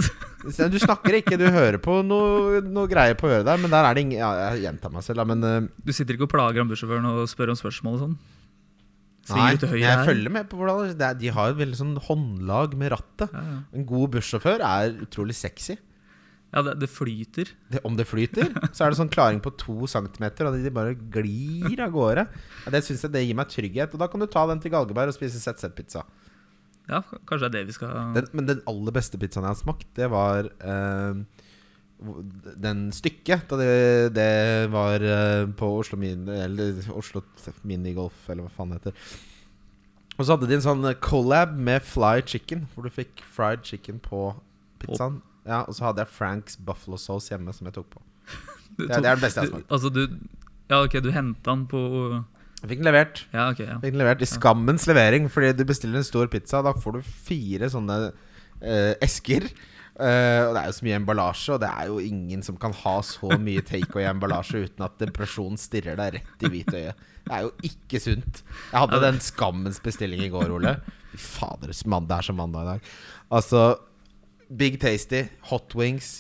Se, Du snakker ikke, du hører på noe, noe greier på øret der, men der er det ingen ja, Jeg gjentar meg selv, da, men eh, Du sitter ikke og plager han bussjåføren og spør om spørsmål og sånn? Nei, Svinger ut til høyre jeg her. følger med på hvordan det er, De har jo veldig sånn håndlag med rattet. Ja, ja. En god bussjåfør er utrolig sexy. ja det, det flyter. Det, om det flyter, så er det sånn klaring på to centimeter, og de bare glir av gårde. Ja, det synes jeg det gir meg trygghet. Og da kan du ta den til Galgeberg og spise ZZ-pizza. Ja, k- kanskje det er det vi skal Den, men den aller beste pizzaen jeg har smakt, det var eh, hvor- den stykket. Da det, det var eh, på Oslo, Min, eller Oslo Minigolf, eller hva faen det heter. Og så hadde de en sånn collab med Fly Chicken, hvor du fikk fried chicken på pizzaen. Ja, Og så hadde jeg Franks buffalo sauce hjemme, som jeg tok på. Du det er den beste jeg har smakt. Du, altså, du Ja, OK, du henta han på Jeg fikk den levert. Ja, OK. ja Fikk den levert i skammens levering, fordi du bestiller en stor pizza. Da får du fire sånne eh, esker. Eh, og det er jo så mye emballasje, og det er jo ingen som kan ha så mye takeaway-emballasje uten at depresjonen stirrer deg rett i hvitøyet. Det er jo ikke sunt. Jeg hadde den skammens bestilling i går, Ole. Fy fader, mann, det er som mandag i dag. Altså, Big Tasty, hot wings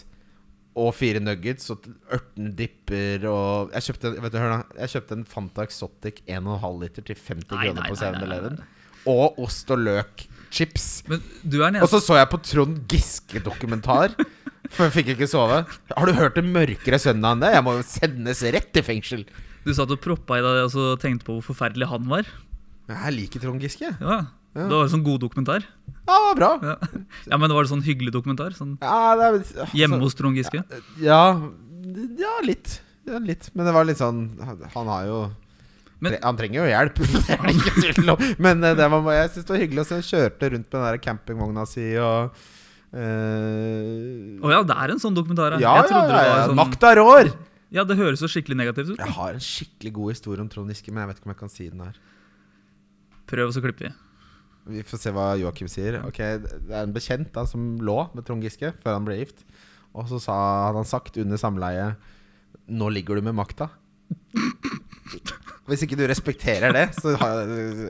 og fire nuggets og ørten dipper og Jeg kjøpte, vet du, hør da, jeg kjøpte en Fanta Exotic 1,5 liter til 50 Nei, kroner nei, på nei, nei, nei, 7-Eleven. Og ost og løk chips. Men du er den Og eneste så så jeg på Trond Giske-dokumentar. For jeg fikk ikke sove. Har du hørt en mørkere søndag enn det? Jeg må jo sendes rett til fengsel. Du satt og proppa i deg det og så tenkte på hvor forferdelig han var. Jeg liker Trond Giske. Ja, Det var en sånn god dokumentar. Ja, det var bra. Ja. ja, men det var det sånn hyggelig dokumentar? Sånn Ja, det er, altså, hjemme hos Trond Giske? Ja, ja litt. ja, litt. Men det var litt sånn Han har jo Men- tre- Han trenger jo hjelp. Det er det ikke tvil om. Men eh, det var, bare- jeg syns det var hyggelig å se han kjørte rundt med den der campingvogna si og eh, Å ja, det er en sånn dokumentar. ja, ja, jeg trodde ja, ja. det var sånn Makta rår! Ja, det høres så skikkelig negativt ut. Jeg har en skikkelig god historie om Trond Giske, men jeg vet ikke om jeg kan si den her. Prøv, og så klipper vi. Vi får se hva Joakim sier. Mm. Ok, Det er en bekjent da som lå med Trond Giske før han ble gift. Og så sa, hadde han sagt under samleie Nå ligger du med makta. Hvis ikke du respekterer det, så har,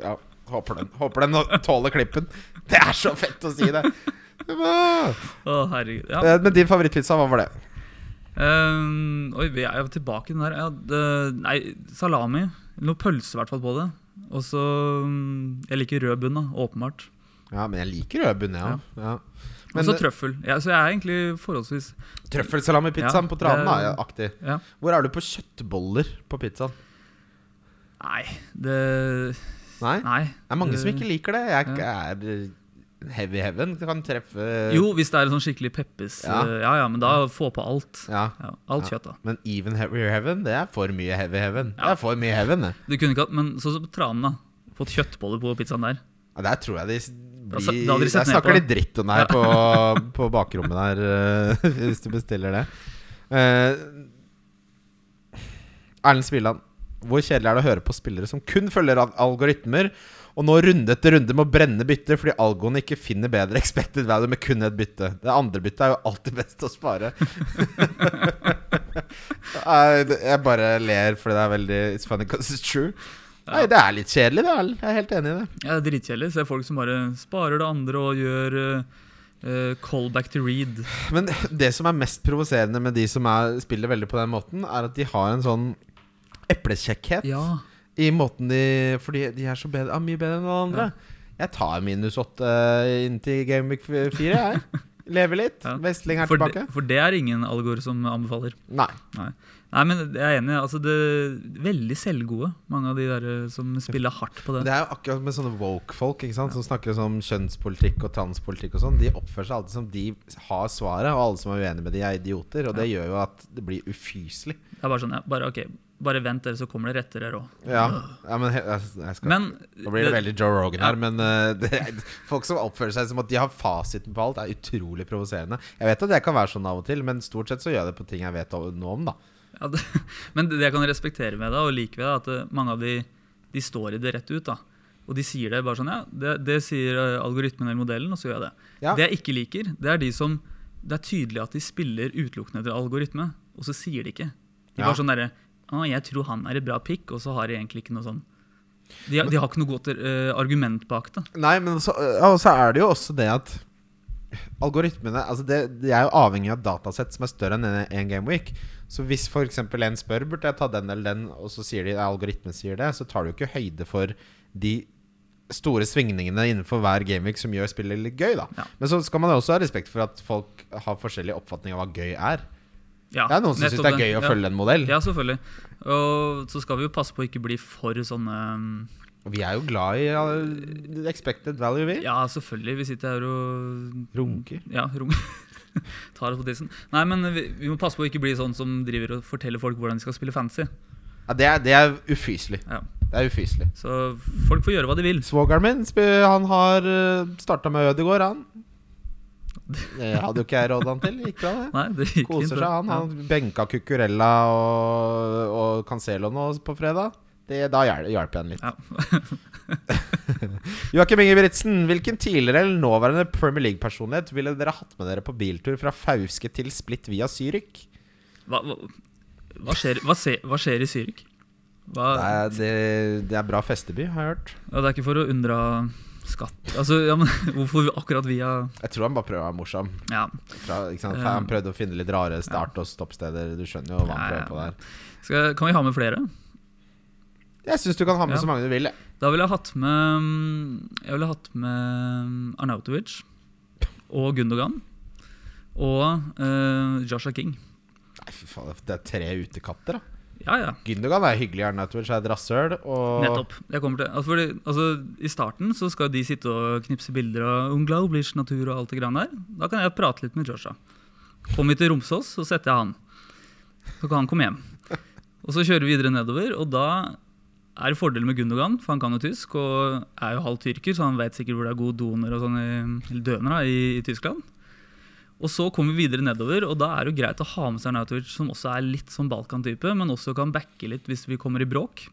ja, håper den Håper den tåler klippen. Det er så fett å si det! Eh, Å, herregud. Ja. Men din favorittpizza, hva var det? Ehm, oi, vi er jo tilbake i den der. Ja, det, nei, salami. Noe pølse, i hvert fall, på det. Og så mm, Jeg liker rød bunn, da. Åpenbart. Ja, men jeg liker rød bunn, ja. ja. Og Men så trøffel. Ja, så jeg er egentlig forholdsvis trøffelsalamipizzaen Ja, på tranen det- er ja, aktig. Ja. Hvor er du på kjøttboller på pizzaen? Nei, det Nei? Nei. Det er mange som Det- ikke liker det. Jeg er heavy heaven. Du kan treffe Jo, hvis det er en sånn skikkelig peppes Ja. ja. ja ja, men da få på alt. Ja. Ja, alt kjøtt, da. Men even heavy heaven, det er for mye heavy heaven. Det Ja. er for mye heaven, det. Du kunne ikke hatt Men sånn som på tranen, da. Fått kjøttboller på pizzaen der. Ja, Der tror jeg de s- har blir, jeg aldri sett Jeg ned på snakker det. litt dritt om deg på, på bakrommet der, eh, hvis du bestiller det. Eh, Erlend Spilland, hvor kjedelig er det å høre på spillere som kun følger al- algoritmer, og nå runde etter runde må brenne bytter fordi algoene ikke finner bedre expected value med kun et bytte? Det andre byttet er jo alltid best å spare. Nei, det- Jeg bare ler fordi det er veldig It's funny because it's true. Nei, det er litt kjedelig, det. Erlend. Jeg er helt enig i det. Ja, det er dritkjedelig. Ser folk som bare sparer det andre og gjør eh, eh, callback to read. Men det som er mest provoserende med de som er, spiller veldig på den måten, er at de har en sånn eplekjekkhet Ja. i måten de Fordi de er så bedre, er mye bedre enn alle andre. Jeg tar minus åtte eh, inn til Game Week 4, jeg. Lever litt. Ja. Westling er For, tilbake. det- for det er ingen algor som anbefaler. Nei. Nei, men jeg er enig. Altså, det Veldig selvgode, mange av de der eh, som spiller hardt på det. Det er jo akkurat med sånne woke-folk ikke sant? som snakker om kjønnspolitikk og transpolitikk og sånn. De oppfører seg alltid som de har svaret, og alle som er uenige med de, er idioter. Og det gjør jo at det blir ufyselig. Det er bare sånn, ja, bare, ok, bare vent, dere, så kommer det rettere råd. Ja, ja men he- jeg, jeg skal Men Nå blir det veldig Joe Rogan Ja. her, men eh, det er, folk som oppfører seg som at de har fasiten på alt, er utrolig provoserende. Jeg vet at jeg kan være sånn av og til, men stort sett så gjør jeg det på ting jeg vet o- noe om, da. Ja, det, men det jeg kan respektere med det, og like ved det, er at eh, mange av de, de står i det rett ut. da. Og de sier det bare sånn, ja, det, det sier eh, algoritmen eller modellen, og så gjør jeg det. Ja. Det jeg ikke liker, det er de som Det er tydelig at de spiller utelukkende til algoritme, og så sier de ikke. De Ja. bare sånn derre Å, jeg tror han er et bra pick, og så har de egentlig ikke noe sånn De, de har ikke noe godt eh, argument bak det. Nei, men så, ja, og så er det jo også det at algoritmene altså det, De er jo avhengig av datasett som er større enn én game week. Så hvis f.eks. en spør burde jeg ta den eller den, og så sier de ja, algoritmen sier det, så tar du jo ikke høyde for de store svingningene innenfor hver gameweek som gjør spillet litt gøy. da Ja. Men så skal man jo også ha respekt for at folk har forskjellig oppfatning av hva gøy er. Ja, Det er noen som syns nettopp det er gøy å Ja. følge en modell. Ja, selvfølgelig. Og så skal vi jo passe på å ikke bli for sånne um, Og vi er jo glad i ja, expected value, vi. Ja, selvfølgelig. Vi sitter her og Runker. Ja, rom. Tar oss på tissen. Nei, men vi, vi må passe på å ikke bli sånn som driver og forteller folk hvordan de skal spille fancy. Ja, det, er, det er ufyselig. Ja. Det er ufyselig. Så folk får gjøre hva de vil. Svogeren min sp- han har starta med Ødegaard, han. Det hadde jo ikke jeg råd han til. Gikk bra, det. Nei, det gikk Koser fint. seg, det. han. Ja. Han benka Cucurella og, og Cancelo nå på fredag. Det, da hjel- hjalp jeg han litt. Ja. Joakim Ingebrigtsen, hvilken tidligere eller nåværende Premier League-personlighet ville dere hatt med dere på biltur fra Fauske til Split via Zürich? Hva, hva, hva, skjer, hva, se, hva skjer i Zürich? Hva, Det er, det, det er bra festeby, har jeg hørt. ja, det er ikke for å unndra skatt Altså, ja, men hvorfor akkurat via Jeg tror han bare prøver å være morsom. Ja. Fra, ikke sant? For Han prøvde å finne litt rare start- og stoppsteder. Du skjønner jo hva han Eh. Ja, ja, prøver på der. Skal, kan vi ha med flere? Jeg syns du kan ha med Ja. så mange du vil. jeg. Da ville jeg hatt med mm, Jeg ville hatt med mm, Arnautovic og Gundogan. Og eh, Joshua King. Nei, fy faen, det er tre utekatter, da. Ja, ja. Gündogan er hyggelig, Arnautovic er et rasshøl, og Nettopp. Jeg kommer til altså, fordi, altså, I starten så skal de sitte og knipse bilder av Unglaublich natur og alt det grann der. Da kan jeg prate litt med Joshua. Kommer vi til Romsås, så setter jeg han. Så kan han komme hjem. Og så kjører vi videre nedover, og da er det fordel med Gundogan, for han kan jo tysk og er jo halvt tyrker, så han vet sikkert hvor det er god doner og sånn i, eller døner da, i, i Tyskland. Og så kommer vi videre nedover, og da er det jo greit å ha med seg Arnautovic, som også er litt sånn Balkan-type, men også kan backe litt hvis vi kommer i bråk.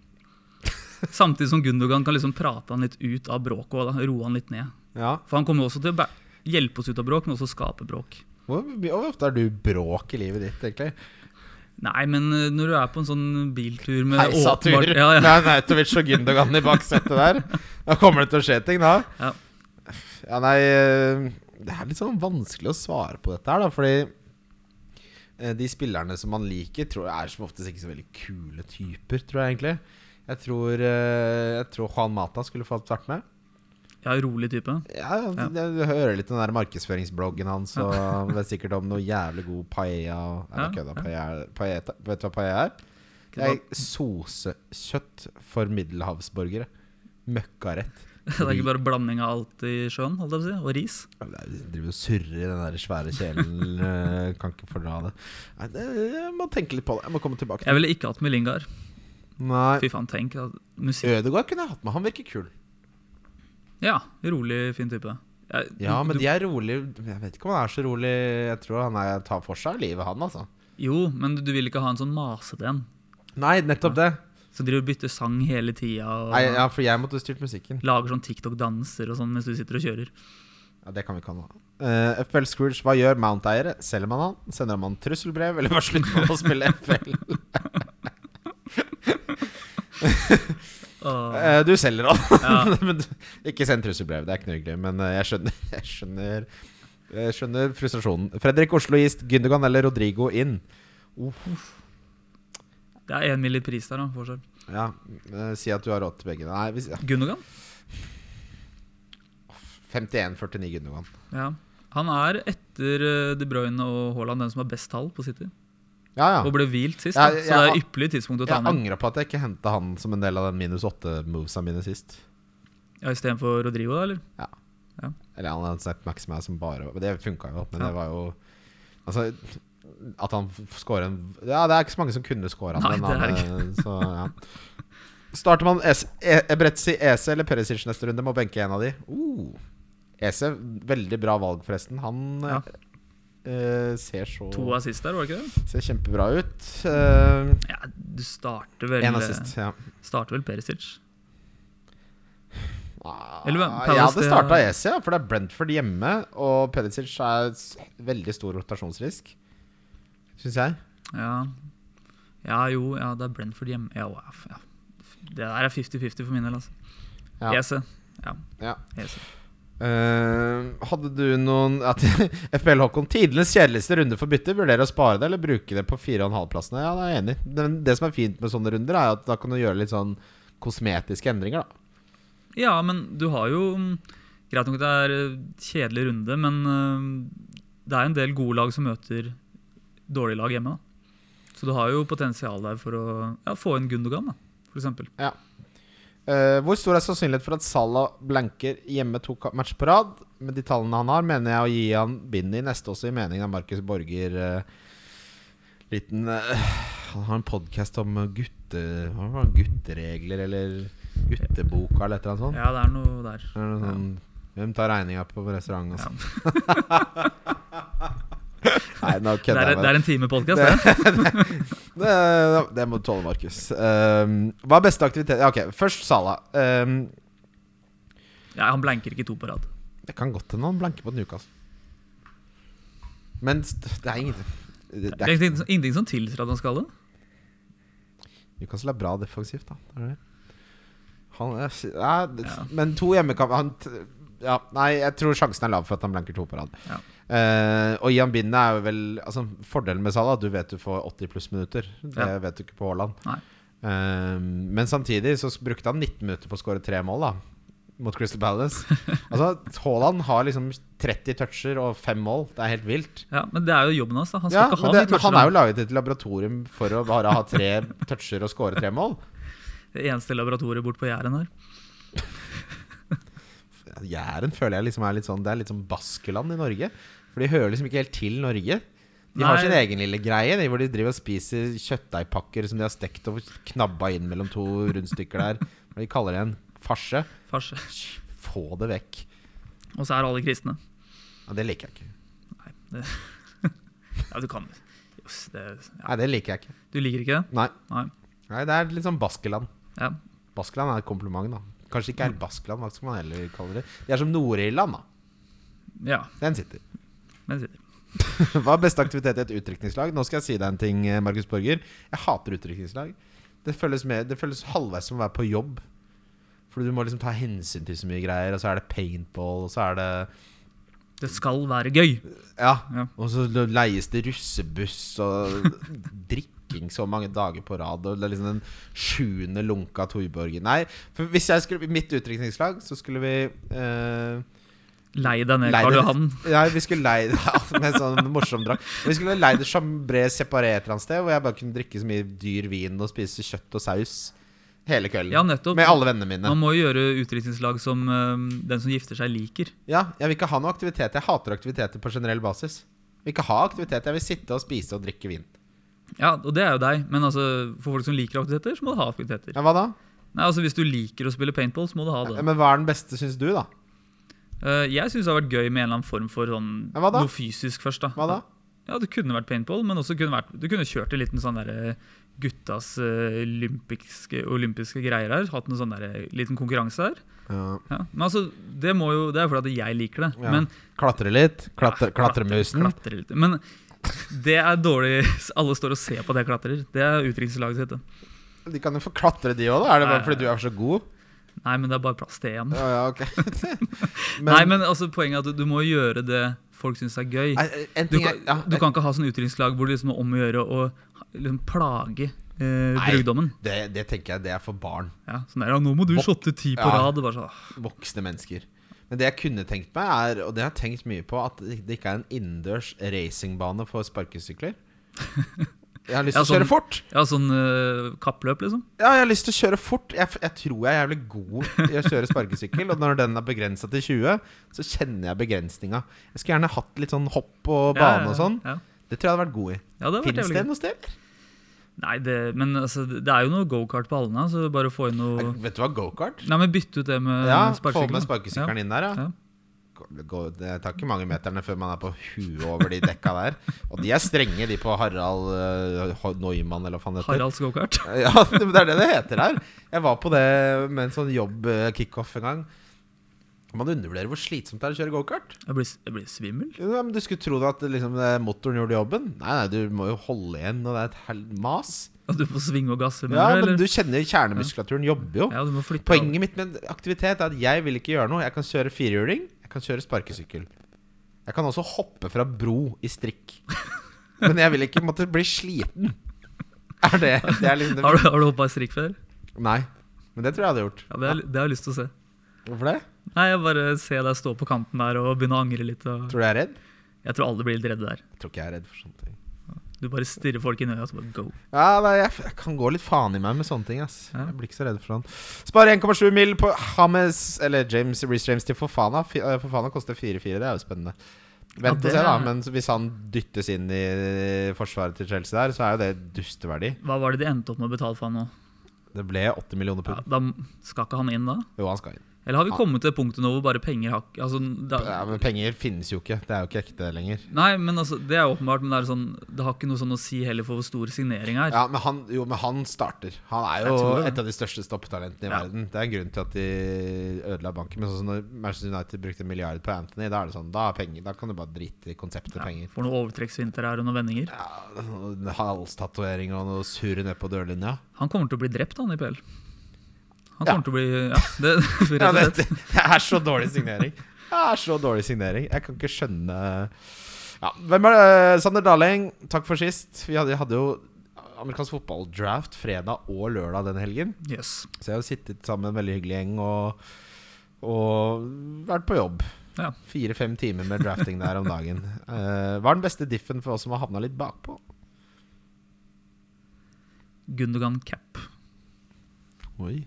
Samtidig som Gundogan kan liksom prate han litt ut av bråket og da roe han litt ned. Ja. For han kommer jo også til å ba- hjelpe oss ut av bråk, men også skape bråk. Hvor, my- hvor ofte har du bråk i livet ditt, egentlig? Nei, men eh, når du er på en sånn biltur med Heisatur! ja, ja. Med Arnautovic og Gündogan i baksetet der. Da kommer det til å skje ting, da. Ja. Ja, nei eh, Det er litt sånn vanskelig å svare på dette her, da, fordi eh, de spillerne som man liker, tror jeg er som oftest ikke så veldig kule typer, tror jeg egentlig. Jeg tror, eh, jeg tror Juan Mata skulle fått vært med. ja, rolig type. Ja, Ja. ja. Du hører litt om den der markedsføringsbloggen hans, og han vet sikkert om noe jævlig god paella. og- Nei, Ja, nå kødda. Paella- paella- Vet du hva paella er? Det er sosekjøtt for middelhavsborgere. Møkkarett. Det er ikke bare blanding av alt i sjøen, holdt jeg på å si, og ris. Ja, det er- de Driver og surrer i den der svære kjelen. eh, Kan ikke fordra det. Nei, det. Jeg må tenke litt på det. Jeg må komme tilbake. Jeg ville ikke hatt med Lingard. Nei. Fy faen, tenk. at Musikk. Ødegaard kunne jeg hatt med. Han virker kul. Ja, rolig, fin type. Jeg, Ja, men du, de er rolig Jeg vet ikke om han er så rolig. Jeg tror han er, tar for seg livet, han, altså. Jo, men du vil ikke ha en sånn masete en. Nei, nettopp det. Så driver du og bytter sang hele tida og Nei, ja, for jeg måtte styrt musikken. lager sånn TikTok-danser og sånn mens du sitter og kjører. Ja, Det kan vi ikke ha nå. Eh, FPL Scrooge, hva gjør Mount-eiere? Selger man han? Sender man trusselbrev, eller bare slutter man å spille FPL? Og, Eh, du selger han. ja, men du, ikke send trusselbrev, det er ikke noe hyggelig. Men eh, jeg skjønner, jeg skjønner Jeg skjønner frustrasjonen. Fredrik Osloist, Gündogan eller Rodrigo inn? det er én mill. i pris der, da. Forskjell. Ja, eh, Si at du har råd til begge. Nei, hvis, ja. Gundogan? 51,49 Gündogan. Ja. Han er etter eh, De Bruyne og Haaland den som har best tall på City. Ja, ja. Og ble hvilt sist, Ja, da. jeg så det har- er ypperlig tidspunkt å ta Jeg med. angra på at jeg ikke henta han som en del av den minus åtte-movesa mine sist. Ja, Istedenfor Rodrigo, da, eller? Eller han hadde sett Maxima som bare men Det funka jo, men Ja. det var jo Altså at han f- scorer en Ja, det er ikke så mange som kunne scora Nei, den. det er han, eh, så, ja. Starter man Es- E- Ebretzi, Ese eller Perisic neste runde, må benke en av de. Uh. Ese, veldig bra valg, forresten. Han Ja. eh, ser så To assist der, var det ikke det? Ser kjempebra ut. Eh, Ja, du starter vel eh, en assist, ja. Starter vel Perisic. Eller hvem? Ah, Palace, Jeg hadde det- starta Esi, ja, for det er Brentford hjemme. Og Perisic er s- veldig stor rotasjonsrisk, syns jeg. Ja. ja, jo, ja, det er Brentford hjemme. Ja, wow, ja. Det der er 50-50 for min del, altså. eh. Ja. Ese. Ja. Ja. Ese. Eh, hadde du noen at, FBL Håkon, tidenes kjedeligste runde for bytte. Vurderer å spare det eller bruke det på 4,5-plassene. Ja, det er jeg enig i. Men det som er fint med sånne runder, er at da kan du gjøre litt sånn kosmetiske endringer, da. ja, men du har jo mm, Greit nok at det er eh, kjedelig runde, men eh, det er en del gode lag som møter dårlige lag hjemme. da. Så du har jo potensial der for å ja, få inn Gundogan, da, for eksempel. Eh, hvor stor er sannsynlighet for at Salah blanker hjemme to ka- matcher på rad? Med de tallene han har, mener jeg å gi han bindet i neste også, i meningen av Markus Borger eh, Liten eh, Han har en podkast om eh, gutte, hva var det, gutteregler eller gutteboka eller et eller annet sånt. Ja, det er noe der. Det er noe sånn, Hvem tar regninga på restaurant og sånn? Nei, nå Det kødder er, jeg med det deg. er en time podcast, det. Det, det må du tåle, Markus. Um, hva er beste aktivitet Ja, Ok, først Salah. Um, Ja, han blanker ikke to på rad. Det kan godt hende han blanker på Newcastle. Men st- det er ingenting det, Det det er er, ingenting, ingenting som tilsier at han skal det. Newcastle er bra defensivt, da. Det er det. Han er, s- ja, det, Ja. Men to hjemmekamper han, t- ja, Nei, jeg tror sjansen er lav for at han blanker to på rad. Ja. Eh, og Ian Binne er jo vel altså, Fordelen med Salah er at du vet du får 80 pluss minutter. Det Ja. vet du ikke på Haaland. Nei. Eh, men samtidig så s- brukte han 19 minutter på å skåre tre mål, da. Mot Crystal Palace. altså, Haaland har liksom 30 toucher og fem mål. Det er helt vilt. Ja, Men det er jo jobben hans. da. Han skal Ja, ikke men det, ha de men han touchene. er jo laget i et laboratorium for å bare ha tre toucher og score tre mål. Det eneste laboratoriet bort på Jæren her. Jæren føler jeg liksom er litt sånn Det er litt sånn baskeland i Norge. For de hører liksom ikke helt til Norge. De har Nei. sin egen lille greie de, hvor de driver og spiser kjøttdeigpakker som de har stekt og knabba inn mellom to rundstykker der. Hva De kaller det en farse. Farse. Få det vekk. Og så er alle kristne. Ja, det liker jeg ikke. Nei, det Ja, du kan Jøss, det ja. Nei, det liker jeg ikke. Du liker ikke det? Nei. Nei. Nei det er litt sånn baskeland. Ja. Baskeland er et kompliment, da. Kanskje ikke er Baskeland, hva skal man heller kalle det? De er som Nord-Irland, da. ja Den sitter. men sitter. Hva er beste aktivitet i et utrykningslag? Nå skal jeg si deg en ting, eh, Markus Borger. Jeg hater utrykningslag. Det føles, mer- det føles halvveis som å være på jobb. For du må liksom ta hensyn til så mye greier, og så er det paintball, og så er det Det skal være gøy. Ja. Ja. Og så l- leies det russebuss og drikking så mange dager på rad, og det er liksom den sjuende lunka Torborgen. Nei, for hvis jeg skulle mitt utrykningslag, så skulle vi eh, Lei deg ned, Lei Karl deg- Johan. Nei, vi skulle leie det med sånn morsom drakt. Vi skulle leie det chambré separé et eller annet sted, hvor jeg bare kunne drikke så mye dyr vin og spise kjøtt og saus hele kvelden. Ja, nettopp. Med alle vennene mine. Man må jo gjøre utdrikningslag som øhm, den som gifter seg, liker. Ja, jeg vil ikke ha noe aktivitet. Jeg hater aktiviteter på generell basis. Jeg vil ikke ha aktivitet. Jeg vil sitte og spise og drikke vin. Ja, Og det er jo deg. Men altså, for folk som liker aktiviteter, så må du ha aktiviteter. Ja, hva da? Nei, altså Hvis du liker å spille paintball, så må du ha det. Men hva er den beste, syns du, da? Eh, jeg syns det har vært gøy med en eller annen form for sånn, Ja, hva da? noe fysisk først. da. Hva da? Ja, Det kunne vært paintball, men også kunne vært, du kunne kjørt en liten sånn derre guttas eh, olympiske, olympiske greier her. Hatt en sånn derre liten konkurranse her. Ja. Ja. Men altså, det må jo, det er jo fordi at jeg liker det. Ja. Men Klatre litt? Klatre, klatre- klatremusen? klatre litt. Men det er dårlig Alle står og ser på at jeg klatrer. Det er utenrikslaget sitt. det. De kan jo få klatre, de òg, da? Er det bare Nei. fordi du er så god? Nei, men det er bare plass til én. Ja, ja, ok Nei, men altså, poenget er at du, du må gjøre det folk syns er gøy. Nei, eh, en Du ting er- kan, ja, du kan ikke ha sånn utenrikslag hvor det liksom er om å gjøre å liksom plage eh, Nei. brudgommen. det, det tenker jeg det er for barn. Ja, sånn der, ja, 'Nå må du Bo- shotte ti på Ja. rad.' Bare sånn, ah, Voksne mennesker. Men det jeg kunne tenkt meg, er, og det har jeg tenkt mye på, at det ikke er en innendørs racingbane for sparkesykler. Jeg har lyst Ja, til å sånn- kjøre fort! ja, sånn eh, kappløp, liksom. Ja, jeg har lyst til å kjøre fort. Jeg, jeg tror jeg er jævlig god i å kjøre sparkesykkel. Og når den er begrensa til 20, så kjenner jeg begrensninga. Jeg skulle gjerne hatt litt sånn hopp og Ja, bane og sånn. Ja, Det tror jeg hadde vært god i. ja det har vært Fins jævlig det gøy. noe sted? Nei, det, men altså, det er jo noe gokart på Alna, så bare få inn noe Vet du hva, gokart? Nei, men bytte ut det med Ja, få Eh, sparkesykkelen, med da. sparkesykkelen inn der, ja. Ja. Gå- gå- Det tar ikke mange meterne før man er på huet over de dekka der. Og de er strenge, de på Harald eh, Ho- Neumann, eller hva faen det heter. Ja. Haralds gokart. Ja, men det er det det heter her. Jeg var på det med en sånn jobb-kickoff en gang. Man undervurderer hvor slitsomt det er å kjøre gokart. Jeg blir, jeg blir svimmel. Jo, men Du skulle tro at liksom, motoren gjorde jobben. Nei, nei, du må jo holde igjen når det er et hel mas. At du får svinge og gasse med Ja, det, men eller? du kjenner jo kjernemuskulaturen jobber jo. Ja, du må flytte Poenget mitt med aktivitet er at jeg vil ikke gjøre noe. Jeg kan kjøre firehjuling, jeg kan kjøre sparkesykkel. Jeg kan også hoppe fra bro i strikk. Men jeg vil ikke måtte bli sliten. Er det, det er liksom av. det- Har du, har du hoppa i strikk før? Nei. Men det tror jeg hadde gjort. Ja, det, er- det har jeg lyst til å se. Hvorfor det? Nei, jeg bare ser deg stå på kanten der og begynne å angre litt. Og Tror du jeg er redd? jeg tror alle blir litt redde der. Jeg tror ikke jeg er redd for sånne ting. Du bare stirrer folk inn i øya og så bare go. Ja, nei, jeg, jeg kan gå litt faen i meg med sånne ting. ass Ja. Jeg blir ikke så redd for han. Spare 1,7 mil på Hames Eller James Reece James til Fofana. Fi- eh, Fofana koster 4-4, det er jo spennende. Vent det og se, da. er- Men hvis han dyttes inn i forsvaret til Chelsea der, så er jo det dusteverdi. Hva var det de endte opp med å betale for han nå? Det ble 80 millioner Ja, pund. da skal ikke han inn da? Jo, han skal inn. Eller har vi Ja. kommet til punktet nå hvor bare penger har ikke- altså, da, Ja, men penger finnes jo ikke. Det er jo ikke ekte lenger. Nei, men altså, det er åpenbart, men det, er sånn, det har ikke noe sånn å si heller for hvor stor signering er. Ja, men han, jo, men han starter. Han er Jeg jo tror det. et av de største stoppetalentene i Ja. verden. Det er en grunn til at de ødela banken. Men sånn som når Manchester United brukte en milliard på Anthony, da er det sånn, da, er penger, da kan du bare drite i konseptet penger. Får noen overtrekksvinter her og noen vendinger. Ja, en Halstatovering og noe surr ned på dørlinja. Han kommer til å bli drept, han i PL. Han Ja. kommer til å bli Ja, det, rett Ja, og det, slett. det er så dårlig signering. Det er så dårlig signering. Jeg kan ikke skjønne ja, Hvem er det? Sander Daleng, takk for sist. Vi hadde, jeg hadde jo amerikansk fotballdraft fredag og lørdag den helgen. Jøss. Så jeg har jo sittet sammen med en veldig hyggelig gjeng og, og vært på jobb. Ja. Fire-fem timer med drafting der om dagen. Eh, hva er den beste diffen for oss som har havna litt bakpå? Gundogan cap. Oi.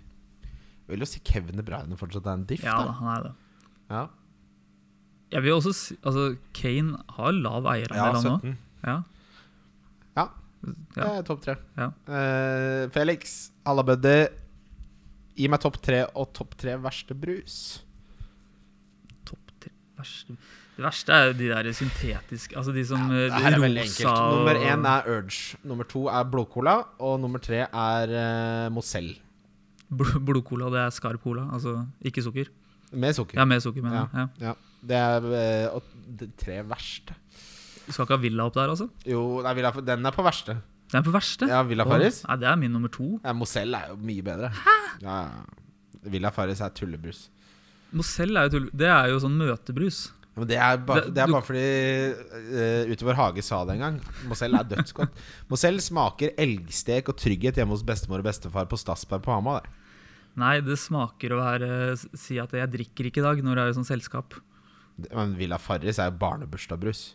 Jeg vil jo si Kevin De Bruyne fortsatt er en diff. Ja da, han er det. da. Ja. Jeg vil også si Altså, Kane har lav Ja, eierandel, han òg. 17. Ja. Ja. Ja. Det er topp tre. Ja. Eh, Felix, halla buddy. Gi meg topp tre og topp tre verste brus. Topp tre verste Det verste er jo de der syntetiske Altså de som eh, Det her er veldig rosa enkelt. og- Nummer én er Urge. Nummer to er blodcola. Og nummer tre er uh, Mozell. Bl- Blodcola, det er skarp cola. Altså ikke sukker. Med sukker. Ja, med sukker, mener jeg. Ja. Ja, det er eh, og de tre verste. Du skal ikke ha Villa opp der, altså? Jo, nei, Villa, den er på verste. Det er på verste. Ja, Villa Farris. Nei, det er min nummer to. Ja, Mozell er jo mye bedre. Hæ? Ja, ja. Villa Farris er tullebrus. Mozell er jo tull... Det er jo sånn møtebrus. Ja, Men det er, bare, Det- det er du- bare fordi eh, Ute vår hage sa det en gang. Mozell er dødsgodt. Mozell smaker elgstek og trygghet hjemme hos bestemor og bestefar på Stadsberg på Hamar. det. Nei, det smaker å være s- Si at jeg drikker ikke i dag, når det er sånn selskap. Det- Men Villa Farris er jo barnebursdagsbrus.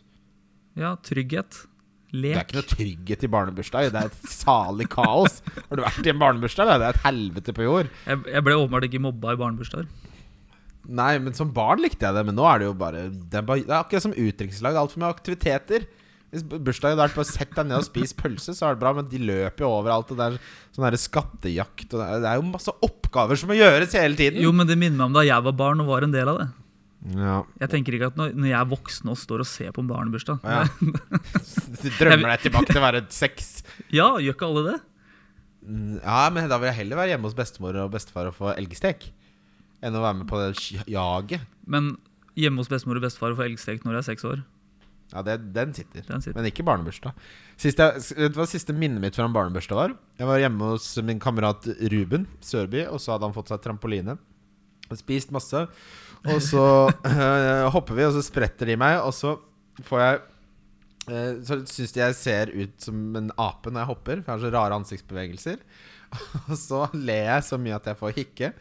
Ja, trygghet. Det er Lek. ikke noe trygghet i barnebursdag. Det er et salig kaos. Har du vært i en barnebursdag? eller? Det er et helvete på jord. Jeg, jeg ble åpenbart ikke mobba i barnebursdager. Nei, men som barn likte jeg det, men nå er det jo bare Det er, bare, det er akkurat som utenrikslag. Det er altfor mye aktiviteter. Hvis bu- bursdagen hadde vært bare sett deg ned og spis pølse, så er det bra, men de løper jo overalt. Og det er sånn derre skattejakt og det er, det er jo masse oppgaver som må gjøres hele tiden. Jo, men det minner meg om da jeg var barn og var en del av det. Ja. Jeg tenker ikke at når, når jeg er voksen og står og ser på en barnebursdag ja. Du drømmer deg tilbake til å være seks. Ja, gjør ikke alle det? Ja, men da vil jeg heller være hjemme hos bestemor og bestefar og få elgestek enn å være med på det sk- jaget. Men hjemme hos bestemor og bestefar og få elgstek når jeg er seks år. Ja, det, den sitter. Den sitter. Men ikke barnebursdag. Siste, vet du hva siste minnet mitt fra en barnebursdag var? Jeg var hjemme hos min kamerat Ruben Sørby, og så hadde han fått seg trampoline. Og Spist masse. Og så eh, hopper vi, og så spretter de meg, og så får jeg eh, Så syns de jeg ser ut som en ape når jeg hopper, for jeg har så rare ansiktsbevegelser. Og så ler jeg så mye at jeg får hikke.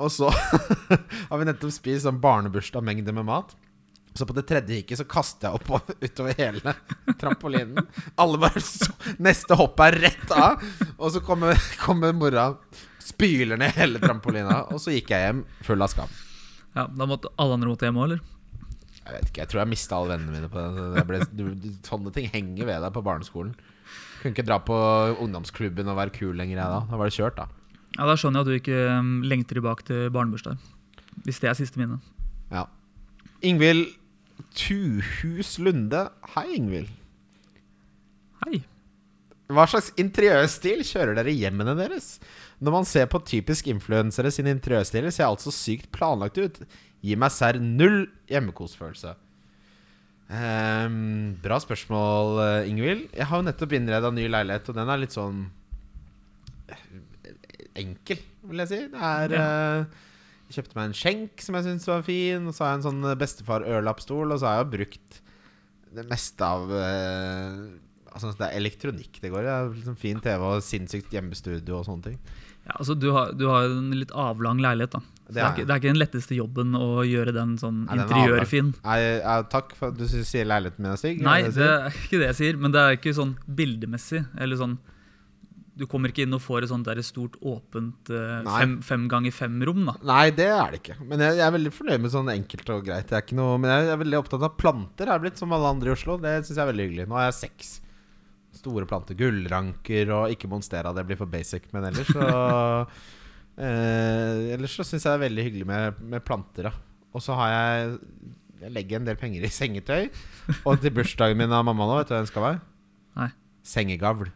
Og så har vi nettopp spist sånn barnebursdagsmengde med mat. Så på det tredje hikket så kaster jeg opp og- utover hele trampolinen. Alle bare så, Neste hopp er rett av. Og så kommer, kommer mora, spyler ned hele trampolina. Og så gikk jeg hjem full av skam. Ja, Da måtte alle andre måtte hjem òg, eller? Jeg vet ikke, jeg tror jeg mista alle vennene mine på det. Jeg ble, du, du, sånne ting henger ved deg på barneskolen. Kunne ikke dra på ungdomsklubben og være kul lenger, jeg da. Da var det kjørt, da. Ja, Da skjønner jeg at du ikke um, lengter tilbake til barnebursdager. Hvis det er siste minne. Ja. Ingvild Tuhus Lunde. Hei, Ingvild. Hei. Hva slags interiørstil kjører dere i hjemmene deres? Når man ser på typisk influensere sine interiørstiler, ser alt så sykt planlagt ut. Gi meg serr null hjemmekosfølelse. Ehm, bra spørsmål, eh, Ingvild. Jeg har jo nettopp innreda ny leilighet, og den er litt sånn eh, enkel, vil jeg si. Det er eh, Jeg kjøpte meg en skjenk som jeg syns var fin, og så har jeg en sånn eh, bestefar-ørlappstol, og så har jeg jo brukt det meste av eh, Altså, det er elektronikk det går i. Det er Liksom fin TV og sinnssykt hjemmestudio og sånne ting. Ja, altså Du har du har jo en litt avlang leilighet, da. Så Det det, er er ikke, det er ikke den letteste jobben å gjøre den sånn Nei, den er avlang. interiørfin. Nei, ja, takk for at du sy- sier leiligheten min er stygg. Nei, er det jeg det sier? er ikke det jeg sier, men det er ikke sånn bildemessig. Eller sånn Du kommer ikke inn og får et sånt der stort åpent eh, Nei. fem, fem ganger fem-rom, da. Nei, det er det ikke. Men jeg, jeg er veldig fornøyd med sånn enkelt og greit. Det er ikke noe, men jeg er veldig opptatt av planter. Har jeg blitt som alle andre i Oslo. Det syns jeg er veldig hyggelig. Nå har jeg seks store planter. Gullranker og ikke monstera. Det blir for basic, men ellers så eh, Ellers så syns jeg det er veldig hyggelig med, med planter, da. Og så har jeg Jeg legger en del penger i sengetøy. Og til bursdagen min av mamma nå, vet du hva den skal være? Nei. Sengegavl.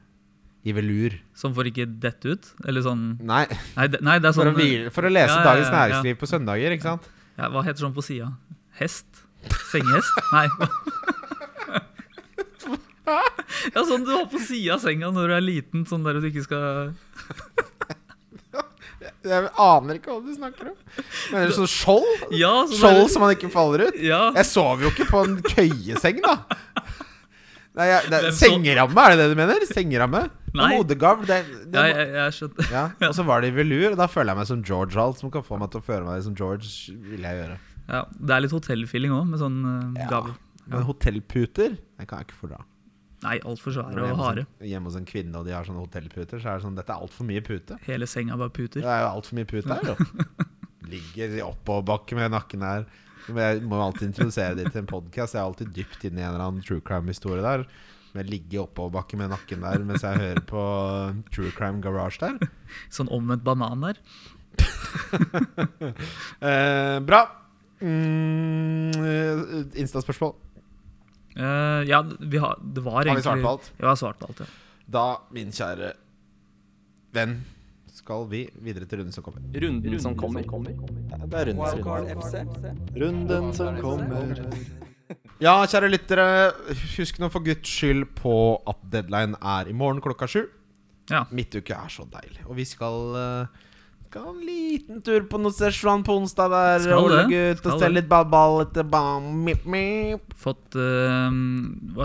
I velur. Som får ikke dette ut. Eller sånn Nei, Nei, det, nei, det er for sånn å, hvile, for å lese ja, ja, Dagens ja, ja. Næringsliv på søndager, ikke sant? Ja, hva heter sånn på sida? Hest? Sengehest? Nei. Ja, sånn du har på sida av senga når du er liten, sånn der du ikke skal Jeg aner ikke hva du snakker om. Men er det sånn skjold? Ja, sånn Skjold som man ikke faller ut? Ja, Jeg sover jo ikke på en køyeseng, da. Nei, jeg, det, Hvem så- sengeramme, er det det du mener? Sengeramme? Nei. Og Hodegavl. Det, ja det, jeg, jeg skjønte ja. Og så var det i velur, og da føler jeg meg som George alt som kan få meg til å føle meg som George. vil jeg gjøre ja, Det er litt hotellfeeling òg, med sånn eh, Ja. gaver. Men hotellputer Det kan jeg ikke fordra. Nei, altfor Når du svære er og harde. hjemme, hos en, hjemme hos en kvinne, og de har sånne hotellputer, så er det sånn Dette er altfor mye pute. Hele senga bare puter. Det er jo altfor mye pute her, jo. Ligger i oppoverbakke med nakken her. Men jeg må jo alltid introdusere det til en podkast. Jeg er alltid dypt inne i en eller annen true crime-historie der. Men jeg ligger i oppoverbakke med nakken der mens jeg hører på True Crime Garage der. Sånn omvendt banan der. Eh, bra. Mm, eh, Insta-spørsmål. Eh, ja, vi har Det var Har vi egentlig svart på alt? Ja, vi har svart på alt, ja. Da, min kjære venn, skal vi videre til runden som kommer. Runden som kommer. Det er rundt. Wildcard FC. Runden som kommer. Ja, kjære lyttere, husk nå for guds skyld på at deadline er i morgen klokka sju. Ja. Midtuke er så deilig. Og vi skal eh, skal ha en liten tur på noe Szechuan på onsdag der. Skal Ole det, gutt, skal og se det. litt ball-ball etter bam, mip, mip. Fått uh,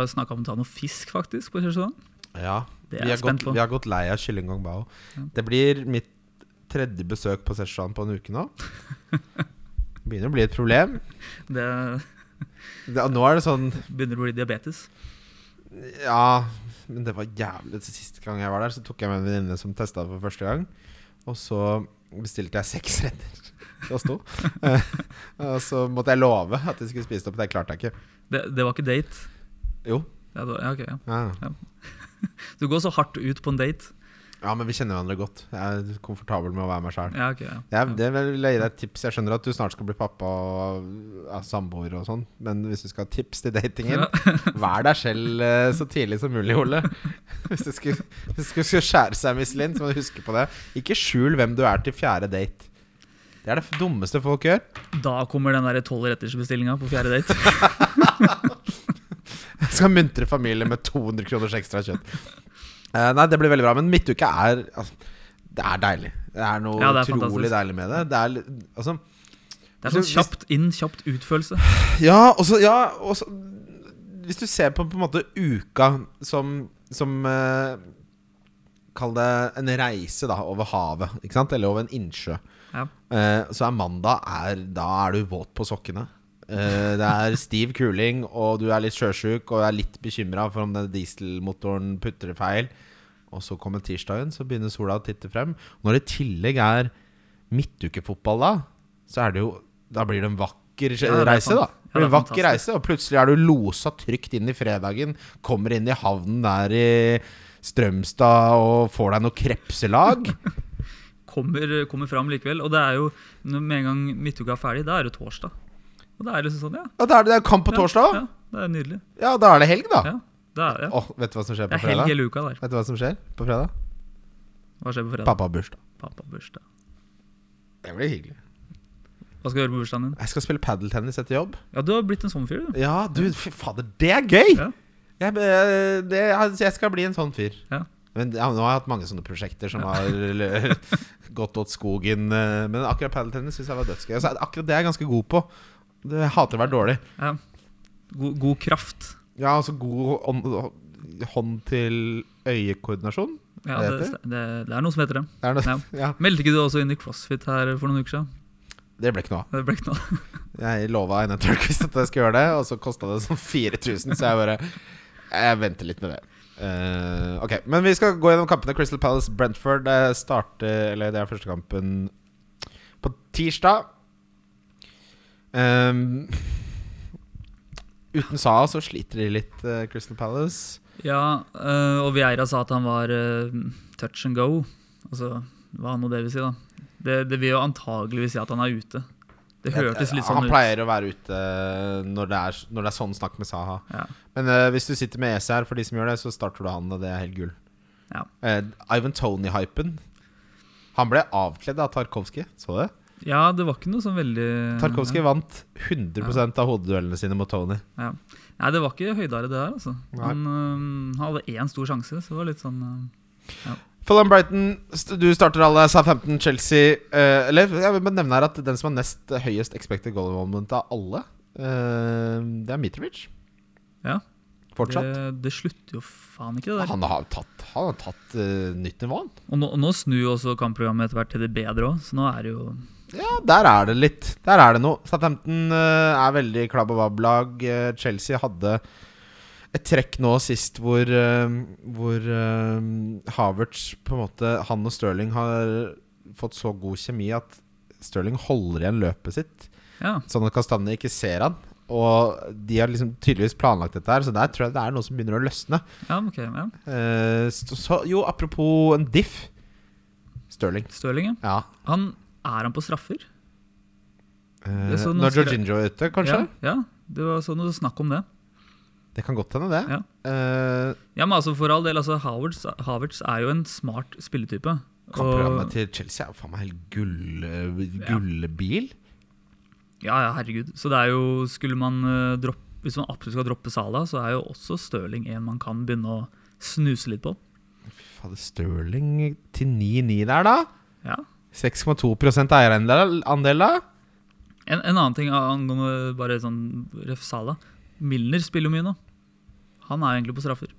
Snakka om å ta noe fisk, faktisk, på Kjørsland. Ja, vi Det er har, jeg gått, spent på. vi har gått lei av kylling gong bao. Det blir mitt tredje besøk på Szechuan på en uke nå. Begynner å bli et problem. Det Det, nå er det sånn begynner å bli diabetes. Ja, men det var jævlig Sist gang jeg var der, så tok jeg med en venninne som testa for første gang. Og så bestilte jeg seks retter. Det sto. Eh, og så måtte jeg love at jeg skulle spise det opp. Det klarte jeg ikke. Det, det var ikke date. Jo, Ja, da, ja, ok, ja. Ja. Du går så hardt ut på en date. ja, men vi kjenner hverandre godt. Jeg er komfortabel med å være meg sjæl. Ja, ok, ja. Jeg, det vil jeg gi deg et tips. Jeg skjønner at du snart skal bli pappa og ja, samboer og sånn, men hvis du skal ha tips til datingen, Ja. vær deg selv eh, så tidlig som mulig, Ole. Hvis du skulle, hvis du skulle skulle skjære seg, Miss Lind, så må du huske på det. Ikke skjul hvem du er til fjerde date. Det er det dummeste folk gjør. Da kommer den der tolv rettersbestillinga på fjerde date. Jeg skal muntre familien med 200 kroners ekstra kjøtt. Eh, nei, det blir veldig bra, men midtuke er altså, Det er deilig. Det er noe Ja, det er utrolig fantastisk. deilig med det. Det er li- altså Det er sånn Så hvis- kjapt inn, kjapt ut-følelse. Ja, og så ja, og så- Hvis du ser på på en måte uka som, som eh, Kall det en reise da over havet, ikke sant? eller over en innsjø. Ja. Eh, så er mandag er, Da er du våt på sokkene. Eh, det er stiv kuling, og du er litt sjøsjuk og er litt bekymra for om den dieselmotoren putrer feil. Og så kommer tirsdagen, så begynner sola å titte frem. Når det i tillegg er midtukefotball da, så er det jo Da blir det en vakker Ja, det er reise, da. sant. Det Ja, blir en det er vakker fantastisk. reise, og plutselig er du losa trygt inn i fredagen. Kommer inn i havnen der i Strømstad og får deg noe krepselag. Kommer, kommer fram likevel. Og det er jo, når- med en gang midtuka er ferdig, da er det torsdag. Og da er det liksom sånn, ja. Ja, da er det det er kamp på ja, torsdag. Ja, det er nydelig. Ja, da er det helg, da. Ja, det er det. Åh, vet du hva som skjer Det er på helg fredag? hele uka der. Vet du hva som skjer på fredag? Hva skjer på fredag? Pappa har bursdag. Pappa-bursdag. Det blir hyggelig. Hva skal du gjøre på bursdagen din? Jeg skal spille padeltennis etter jobb. Ja, du har blitt en sånn fyr, du. Ja, du, fy fader, det er gøy! Ja. Jeg, eh, det, jeg skal bli en sånn fyr. Ja. Men ja, nå har jeg hatt mange sånne prosjekter som har eller, gått åt skogen. eh, Men akkurat padeltennis syns jeg var dødsgøy. Og så er det akkurat det er jeg ganske god på. Det- Jeg hater å være dårlig. Ja. God, god kraft. Ja, altså god hånd- hånd til øyekoordinasjon. Ja, Hva det, heter det, det er noe som heter det. Det, er noe, Ja. ja, Meldte ikke du også inn i CrossFit her for noen uker siden? det ble ikke noe av. Det ble ikke noe. Jeg lova Einar Tørnquist at jeg skulle gjøre det, og så kosta det sånn 4000, så jeg bare Jeg venter litt med det. Eh, ok, Men vi skal gå gjennom kampene. Crystal Palace Brentford eh, starter Eller det er første kampen på tirsdag. Ehm, uten Sa så sliter de litt, eh, Crystal Palace. Ja, eh, og Vieira sa at han var eh, touch and go. Altså, hva nå det vil si, da. Det, det vil jo antageligvis si at han er ute. Det hørtes litt sånn Eh, Han ut. pleier å være ute når det er, når det er sånn snakk med Saha. Ja. Men eh, hvis du sitter med ECR for de som gjør det, så starter du han, og det er helt gull. Ja. Eh, Ivan Tony-hypen. Han ble avkledd av Tarkovskij, så du det? Ja, det var ikke noe sånn veldig Tarkovskij vant 100 av hodeduellene sine mot Tony. Nei, det var ikke høydere, det der, altså. Nei. Han, eh, han hadde én stor sjanse, så det var litt sånn eh, Fulham Brighton, st- du starter alle. Southampton, Chelsea eh, Eller jeg vil bare nevne her at den som har nest høyest expected goal moment av alle, eh, det er Mitrovic. Ja. Fortsatt. det, det slutter jo faen ikke, det der. Han har tatt, han har tatt eh, nytt nivå, han. Og nå, og nå snur jo også kampprogrammet etter hvert til det bedre òg, så nå er det jo Ja, der er det litt. Der er det noe. Southampton eh, er veldig klabb og babb-lag. Eh, Chelsea hadde et trekk nå sist hvor, eh, hvor eh, Havertz på en måte Han og Stirling har fått så god kjemi at Stirling holder igjen løpet sitt, Ja. sånn at Kastanje ikke ser han. Og de har liksom tydeligvis planlagt dette her, så der tror jeg det er noe som begynner å løsne. ja ok. Ja. Eh, så, så, jo, apropos en diff. Stirling. Stirling, ja. Ja. Han, er han på straffer? Eh, Det så noen når skre- Jorginho er ute, kanskje? Ja, ja. Det var sånn noe snakk om det. Det kan godt hende, det. Ja. Eh, Ja, men altså For all del, altså Havertz, Havertz er jo en smart spilletype. kampprogrammet Og- til Chelsea er jo faen meg helt gull, eh, gullbil. Ja, ja, herregud. Så det er jo Skulle man eh, droppe Hvis man absolutt skal droppe Salah, så er jo også Stirling en man kan begynne å snuse litt på. Fy Fader, Stirling til 9-9 der, da. Ja. 6,2 eierandel, andel da. En, en annen ting angående bare sånn ref Salah. Milner spiller jo mye nå. Han er egentlig på straffer.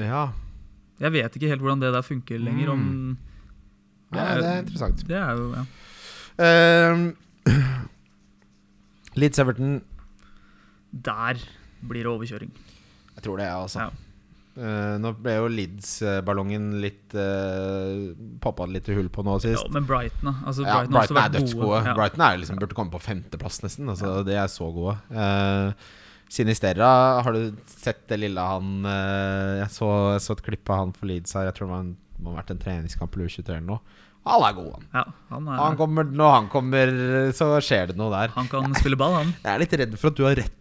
Ja. Jeg vet ikke helt hvordan det der funker lenger. Om, Mm. ja, det er interessant. det er jo ja. Eh, Leeds Everton. Der blir det overkjøring. Jeg tror det, jeg, altså. Ja. Eh, nå ble jo Leeds-ballongen litt uh, Poppa litt hull på nå Ja, sist. men Brighton, da. Altså, Ja, Brighton, har også Brighton er vært dødsgode. Ja. Brighton er liksom, burde komme på femteplass, nesten. Altså, De er så gode. Eh, Sinisterra, har du sett det lille han eh, Jeg så, jeg så et klipp av han for Leeds her. Jeg tror det var en- må ha vært en treningskamp eller U23 eller noe. Han er god, han. Ja, han, er, han han, kommer, når han kommer, så skjer det noe der. kan spille ball, han. Jeg er litt redd for at du har rett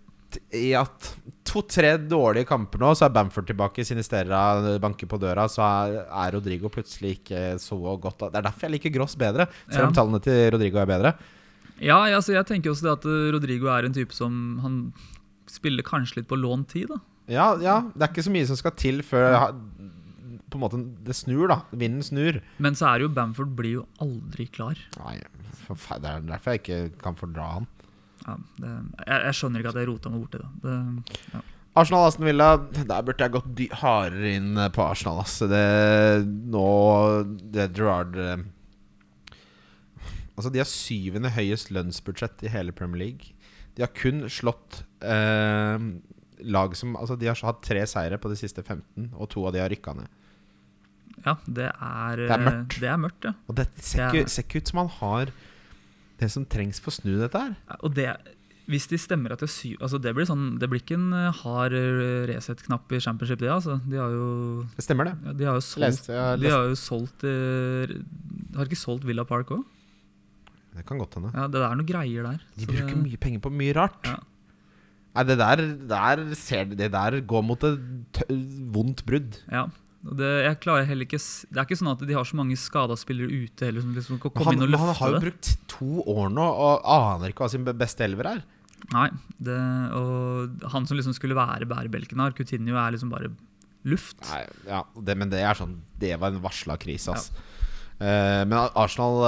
i at to-tre dårlige kamper nå, så er Bamford tilbake, Sinisterra banker på døra, så er, er Rodrigo plutselig ikke så godt. Det er derfor jeg liker Gross bedre, selv om Ja. tallene til Rodrigo er bedre. Ja, ja, så jeg tenker også det at eh, Rodrigo er en type som han spiller kanskje litt på lånt tid, da. Ja, ja, det er ikke så mye som skal til før ha- på en måte det snur, da. Vinden snur. Men så er jo Bamford blir jo aldri klar. Nei, for faen, det er derfor jeg ikke kan fordra han. Ja, det, jeg, jeg skjønner ikke at jeg rota meg borti det. det. Arsenal Aston Villa, der burde jeg gått dy- hardere inn eh, på Arsenal. Ass. Det, nå det Gerard eh, Altså, de har syvende høyest lønnsbudsjett i hele Premier League. De har kun slått eh, lag som Altså, de har hatt tre seire på de siste 15, og to av de har rykka ned. Ja, det er Det er mørkt. eh, Det er mørkt, ja. Og det ser Ja. ikke ser ikke ut som han har det som trengs for å snu dette her. Og det, hvis de stemmer at det er syv altså det, blir sånn, det blir ikke en eh, hard eh, reset-knapp i championship, det. altså. De har jo, Det stemmer, det. ja, de har jo solgt, Leste, jeg har de lest. har jo solgt eh, Har ikke solgt Villa Park òg? Det kan godt hende. Ja, det er noen greier der. De så bruker det- mye penger på mye rart. Ja. Nei, det der, der ser Det der går mot et tø vondt brudd. Ja. Og det, jeg klarer heller ikke s- Det er ikke sånn at de har så mange skada spillere ute heller som liksom kan komme Han, inn og han har løfte jo det. brukt to år nå og aner ikke hva sin be- beste elver er. Nei, det, og han som liksom skulle være bærebjelken her, Coutinho, er liksom bare luft. Nei, ja, det, Men det er sånn Det var en varsla krise, ass. Eh, men Arsenal,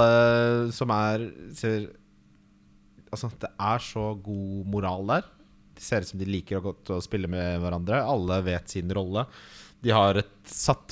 eh, som er ser, Altså, det er så god moral der. Det ser ut som de liker å, godt å spille med hverandre. Alle vet sin rolle. De har et satt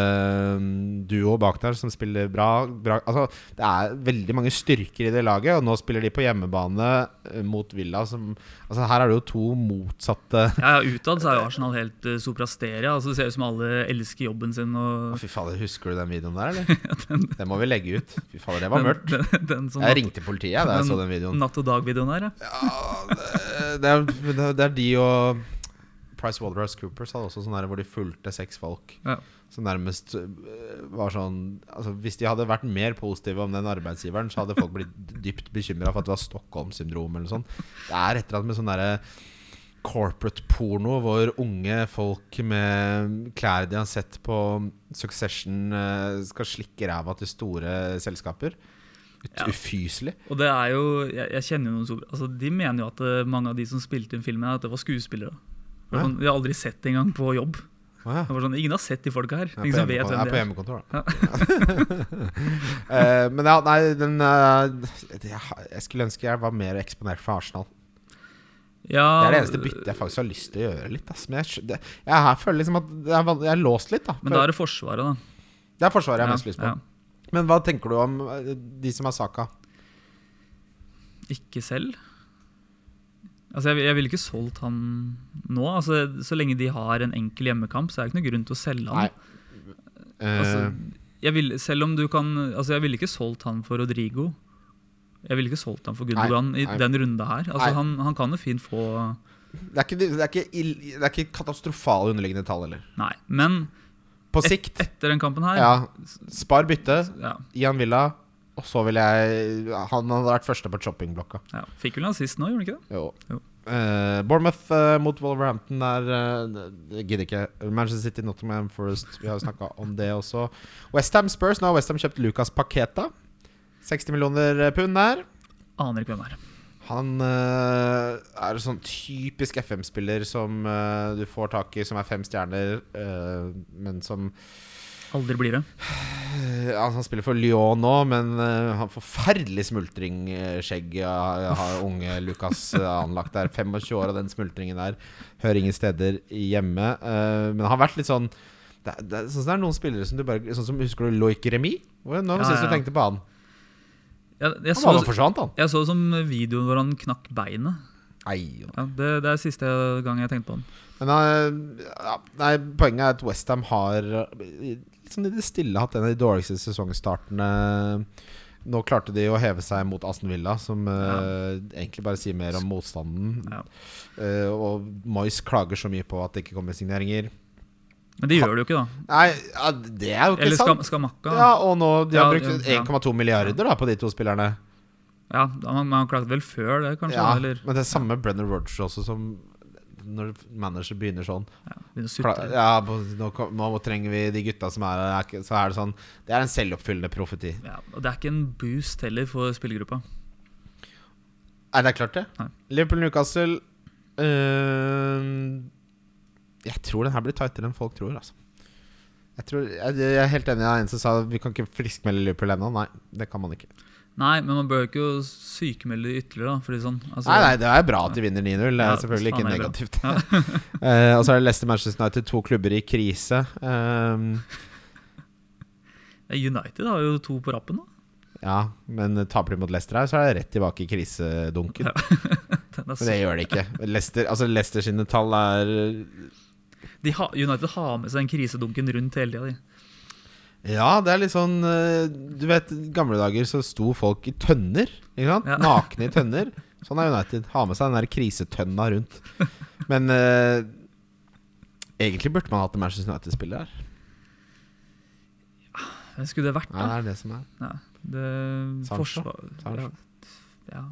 midtstopperduo bak der som spiller bra. bra. Altså, det er veldig mange styrker i det laget, og nå spiller de på hjemmebane eh, mot Villa. Som, altså, her er det jo to motsatte Ja, ja, Utad så er jo Arsenal helt uh, soprasteria. Altså, det ser ut som alle elsker jobben sin. Å, Og Fy fader, husker du den videoen der, eller? Det må vi legge ut. Fy fader, det var mørkt. Den, sånn den, den som Jeg ringte politiet jeg, da jeg så den videoen. Natt og dag-videoen her. Ja. Eh, Det er, det er- det er de og Price Waterhouse Coopers hadde også sånn der hvor de fulgte seks folk. Ja. Som nærmest eh, var sånn altså, Hvis de hadde vært mer positive om den arbeidsgiveren, så hadde folk blitt dypt bekymra for at det var Stockholm-syndrom eller noe sånt. Det er et eller annet med sånn derre corporate porno hvor unge folk med klær de har sett på Succession, eh, skal slikke ræva til store selskaper. Ut Ja. Ufyselig. Og det er jo Jeg, jeg kjenner jo noen sopra... Altså, de mener jo at eh, mange av de som spilte inn filmen, her, at det var skuespillere. Det var Hæ? Sånn, de har aldri sett det engang på jobb. Å ja. Det var sånn, Ingen har sett de folka her. Jeg er Ingen som på vet hjemmekon- jeg er på hvem det er. hjemmekontor, da. Eh, men ja, nei, den eh, det- Jeg skulle ønske jeg var mer eksponert for Arsenal. Ja, Det er det eneste byttet jeg faktisk har lyst til å gjøre litt. Ass. Men jeg, skj- det, jeg her føler liksom at det er, van- jeg er låst litt, da. Men da er det Forsvaret, da. det er Forsvaret jeg har mest lyst på. ja. Men hva tenker du om eh, de som er Saka? Ikke selv? Altså, jeg, vil- jeg ville ikke solgt han nå. Altså, så lenge de har en enkel hjemmekamp, så er det ikke noe grunn til å selge han. Nei. Eh, Altså, jeg vil, selv om du kan Altså, jeg ville ikke solgt han for Rodrigo. Jeg ville ikke solgt han for Gundogan Nei, i nei. den runda her. Altså, Nei. han, han kan jo fint få det, er ikke, det, er ikke ill, det er ikke katastrofale underliggende tall heller. Nei. Men På et, sikt, etter den kampen her ja. Spar byttet, ja, gi han Villa, og så vil jeg Han hadde vært første på shoppingblokka. ja. Fikk vel en assist nå, gjorde han ikke det? Jo. Jo. Eh, Bournemouth eh, mot Wolverhampton der eh, Jeg gidder ikke. Manchester City, Nottingham Forest. Vi har jo snakka om det også. Westham Spurs. Nå har Westham kjøpt Lucas Paqueta. 60 millioner eh, pund der. Aner ikke hvem det er. Han eh, er en sånn typisk FM-spiller som eh, du får tak i, som er fem stjerner, eh, men som Aldri blir det. Eh, altså, han spiller for Lyon nå, men eh, han forferdelig eh, smultringskjegg har, har unge Lucas eh, anlagt der. 25 år, og den smultringen der hører ingen steder hjemme. Eh, men han har vært litt sånn det, er- det, er- Sånn som det er noen spillere som du bare Sånn som Husker du Loic Remy? Nå var det Ja, sist du ja. tenkte på han. Jeg, jeg, Han var da så, forsvant, han. jeg så som videoen hvor han knakk beinet. Nei, Ja, det, det er siste gang jeg tenkte på han. Men eh, ja, nei, poenget er at Westham har eh, liksom i det stille hatt en av de dårligste sesongstartene Nå klarte de å heve seg mot Aston Villa, som eh, egentlig bare sier mer om motstanden. Ja. Eh, og Moyes klager så mye på at det ikke kommer signeringer. Men det gjør det jo ikke, da. Nei, ja, det er jo ikke Eller skam, sant. Skamakka. Ja, og nå de har Ja, brukt ja, ja. 1,2 milliarder da, på de to spillerne. Ja, da- man, man klarte vel før det, kanskje? Ja, eller men det er samme Brenner Rodger også, som når manager begynner sånn begynne å Kla- sutre. ja, nå, kom- nå trenger vi de gutta som er her. er ikke- Så er det sånn Det er en selvoppfyllende profeti. Ja, og det er ikke en boost heller for spillergruppa. Er det klart, det? Nei. Liverpool-Newcastle eh, Jeg tror den her blir tightere enn folk tror, altså. Jeg, tror, jeg, jeg er helt enig med en som sa vi kan ikke friskmelde Liverpool ennå. Nei, det kan man ikke. Nei, men man bør ikke sykemelde ytterligere, da. Fordi sånn, altså, nei, nei, Det er bra at de vinner 9-0. Det er Ja, selvfølgelig ikke faen, det er bra. negativt. Eh, og så er det Leicester Manchester United, to klubber i krise. Eh, United har jo to på rappen, da. ja, men taper de mot Leicester her, så er det rett tilbake i krisedunken. Det er Men det sykt. gjør det ikke. Leicester, altså Leicester sine tall er eh, De har- United har med seg den krisedunken rundt hele tida, de. Ja, det er litt sånn eh, Du vet, i gamle dager så sto folk i tønner. Ikke sant? Ja. Nakne i tønner. Sånn er United. Ha med seg den der krisetønna rundt. Men eh, egentlig burde man hatt en Manchester United-spiller her. Hvem skulle det vært, Nei, da? det er det som er. Ja, det Sancho? forsvar... Sancho. Ja.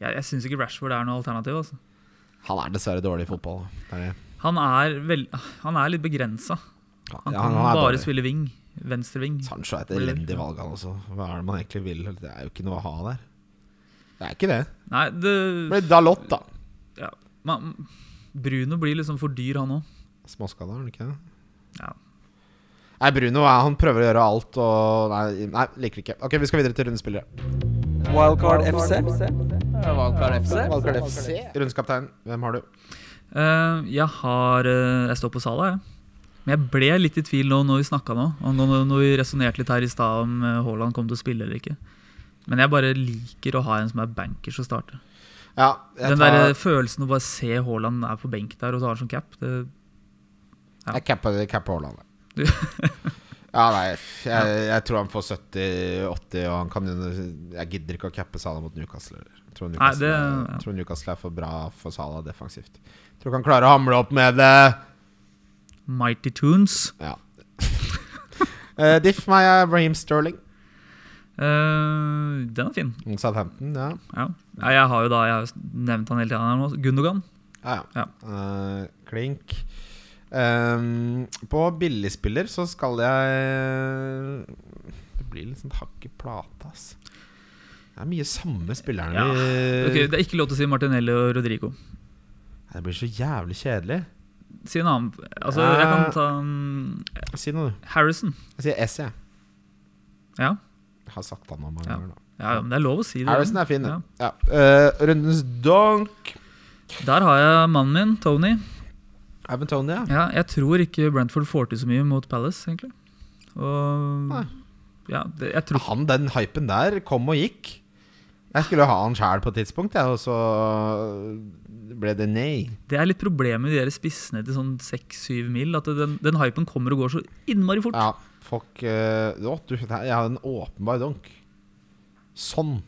Jeg, jeg syns ikke Rashford er noe alternativ. altså. Han er dessverre dårlig i fotball. da. Det er det. Han er, vel, han er litt begrensa. Ja, Han ja, kan er bare dårlig. spille ving. Venstreving. Sancho er et elendig valg, han også. Hva er det man egentlig vil? Det er jo ikke noe å ha der. Det er ikke det. Nei, det Men Dalot, da. man, Bruno blir liksom for dyr, han òg. Småskada, er han ikke det? Ja. Nei, Bruno er- han prøver å gjøre alt og Nei, nei liker ikke. Ok, Vi skal videre til rundespillere. Wildcard FC. Valgkart FC. Valgkart FC. Rundskaptein, hvem har du? Eh, jeg har eh, Jeg står på Sala, jeg. Men jeg ble litt i tvil nå når vi snakka nå, angående når vi resonnerte litt her i stad om eh, Haaland kom til å spille eller ikke. Men jeg bare liker å ha en som er bankers å starte. Ja, jeg Den tar der eh, følelsen å bare se Haaland er på benk der og tar som sånn cap det, ja. Jeg capper capper Haaland. Du- ja, nei, jeg, jeg tror han får 70-80, og han kan jo- Jeg gidder ikke å cappe Salah mot Newcastle. eller. Jeg tror Newcastle, det- er- ja. jeg tror Newcastle er for bra for Salah defensivt. Jeg tror ikke han klarer å hamle opp med eh, det. Mighty Tunes. Ja. Eh, Diff meg er Raheem Sterling. Eh, den er fin. Southampton, ja. Ja. ja, jeg har jo da Jeg har jo nevnt han hele tida nå. Gundogan. Ja, ja. Eh, klink. Ehm, på billigspiller så skal jeg Det blir litt sånn hakk i plata, ass. Det er mye samme spillerne Ja. vi Ok, det er ikke lov til å si Martinelli og Rodrigo. Nei, Det blir så jævlig kjedelig. Si en annen Altså, Ja. jeg kan ta mm, Si noe, du. Harrison. Jeg sier S, jeg. Ja. Jeg har sagt han noen mange Ja. ganger. nå. Ja, ja, men det er lov å si det. Harrison er fin, Ja. den. Ja. Eh, rundens donk. Der har jeg mannen min, Tony. Ivan Tony, ja. Ja, jeg tror ikke Brentford får til så mye mot Palace, egentlig. Og Nei. Ja, det, jeg tror Han, den hypen der kom og gikk. Jeg skulle ha han sjæl på et tidspunkt, jeg, og så ble det nei. Det er litt problemet med de der spissene til sånn 6-7 mil. At den, den hypen kommer og går så innmari fort. Ja, folk eh, å, du, Jeg har en åpenbar donk. Sånn.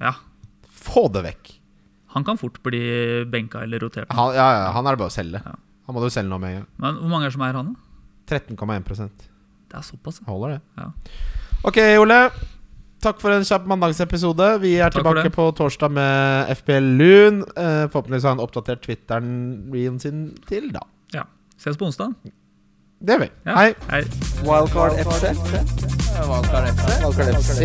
Ja. Få det vekk. Han kan fort bli benka eller rotert. Han, ja, ja, han er det bare å selge. Ja. Han må du selge nå med en gang. Men hvor mange er det som er han, da? 13,1 Det er såpass. ja. Holder det. Ja. Ok, Ole. Takk for en kjapp mandagsepisode. Vi er Takk for tilbake det. på torsdag med FPL Lun. Eh, forhåpentligvis har han oppdatert Twitteren sin til da. Ses på onsdag. Det gjør vi. Ja. Hei. Hei. Wildcard FC. Valgkart FC. Wildcard FC.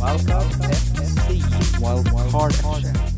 Wildcard FC. Wildcard FC.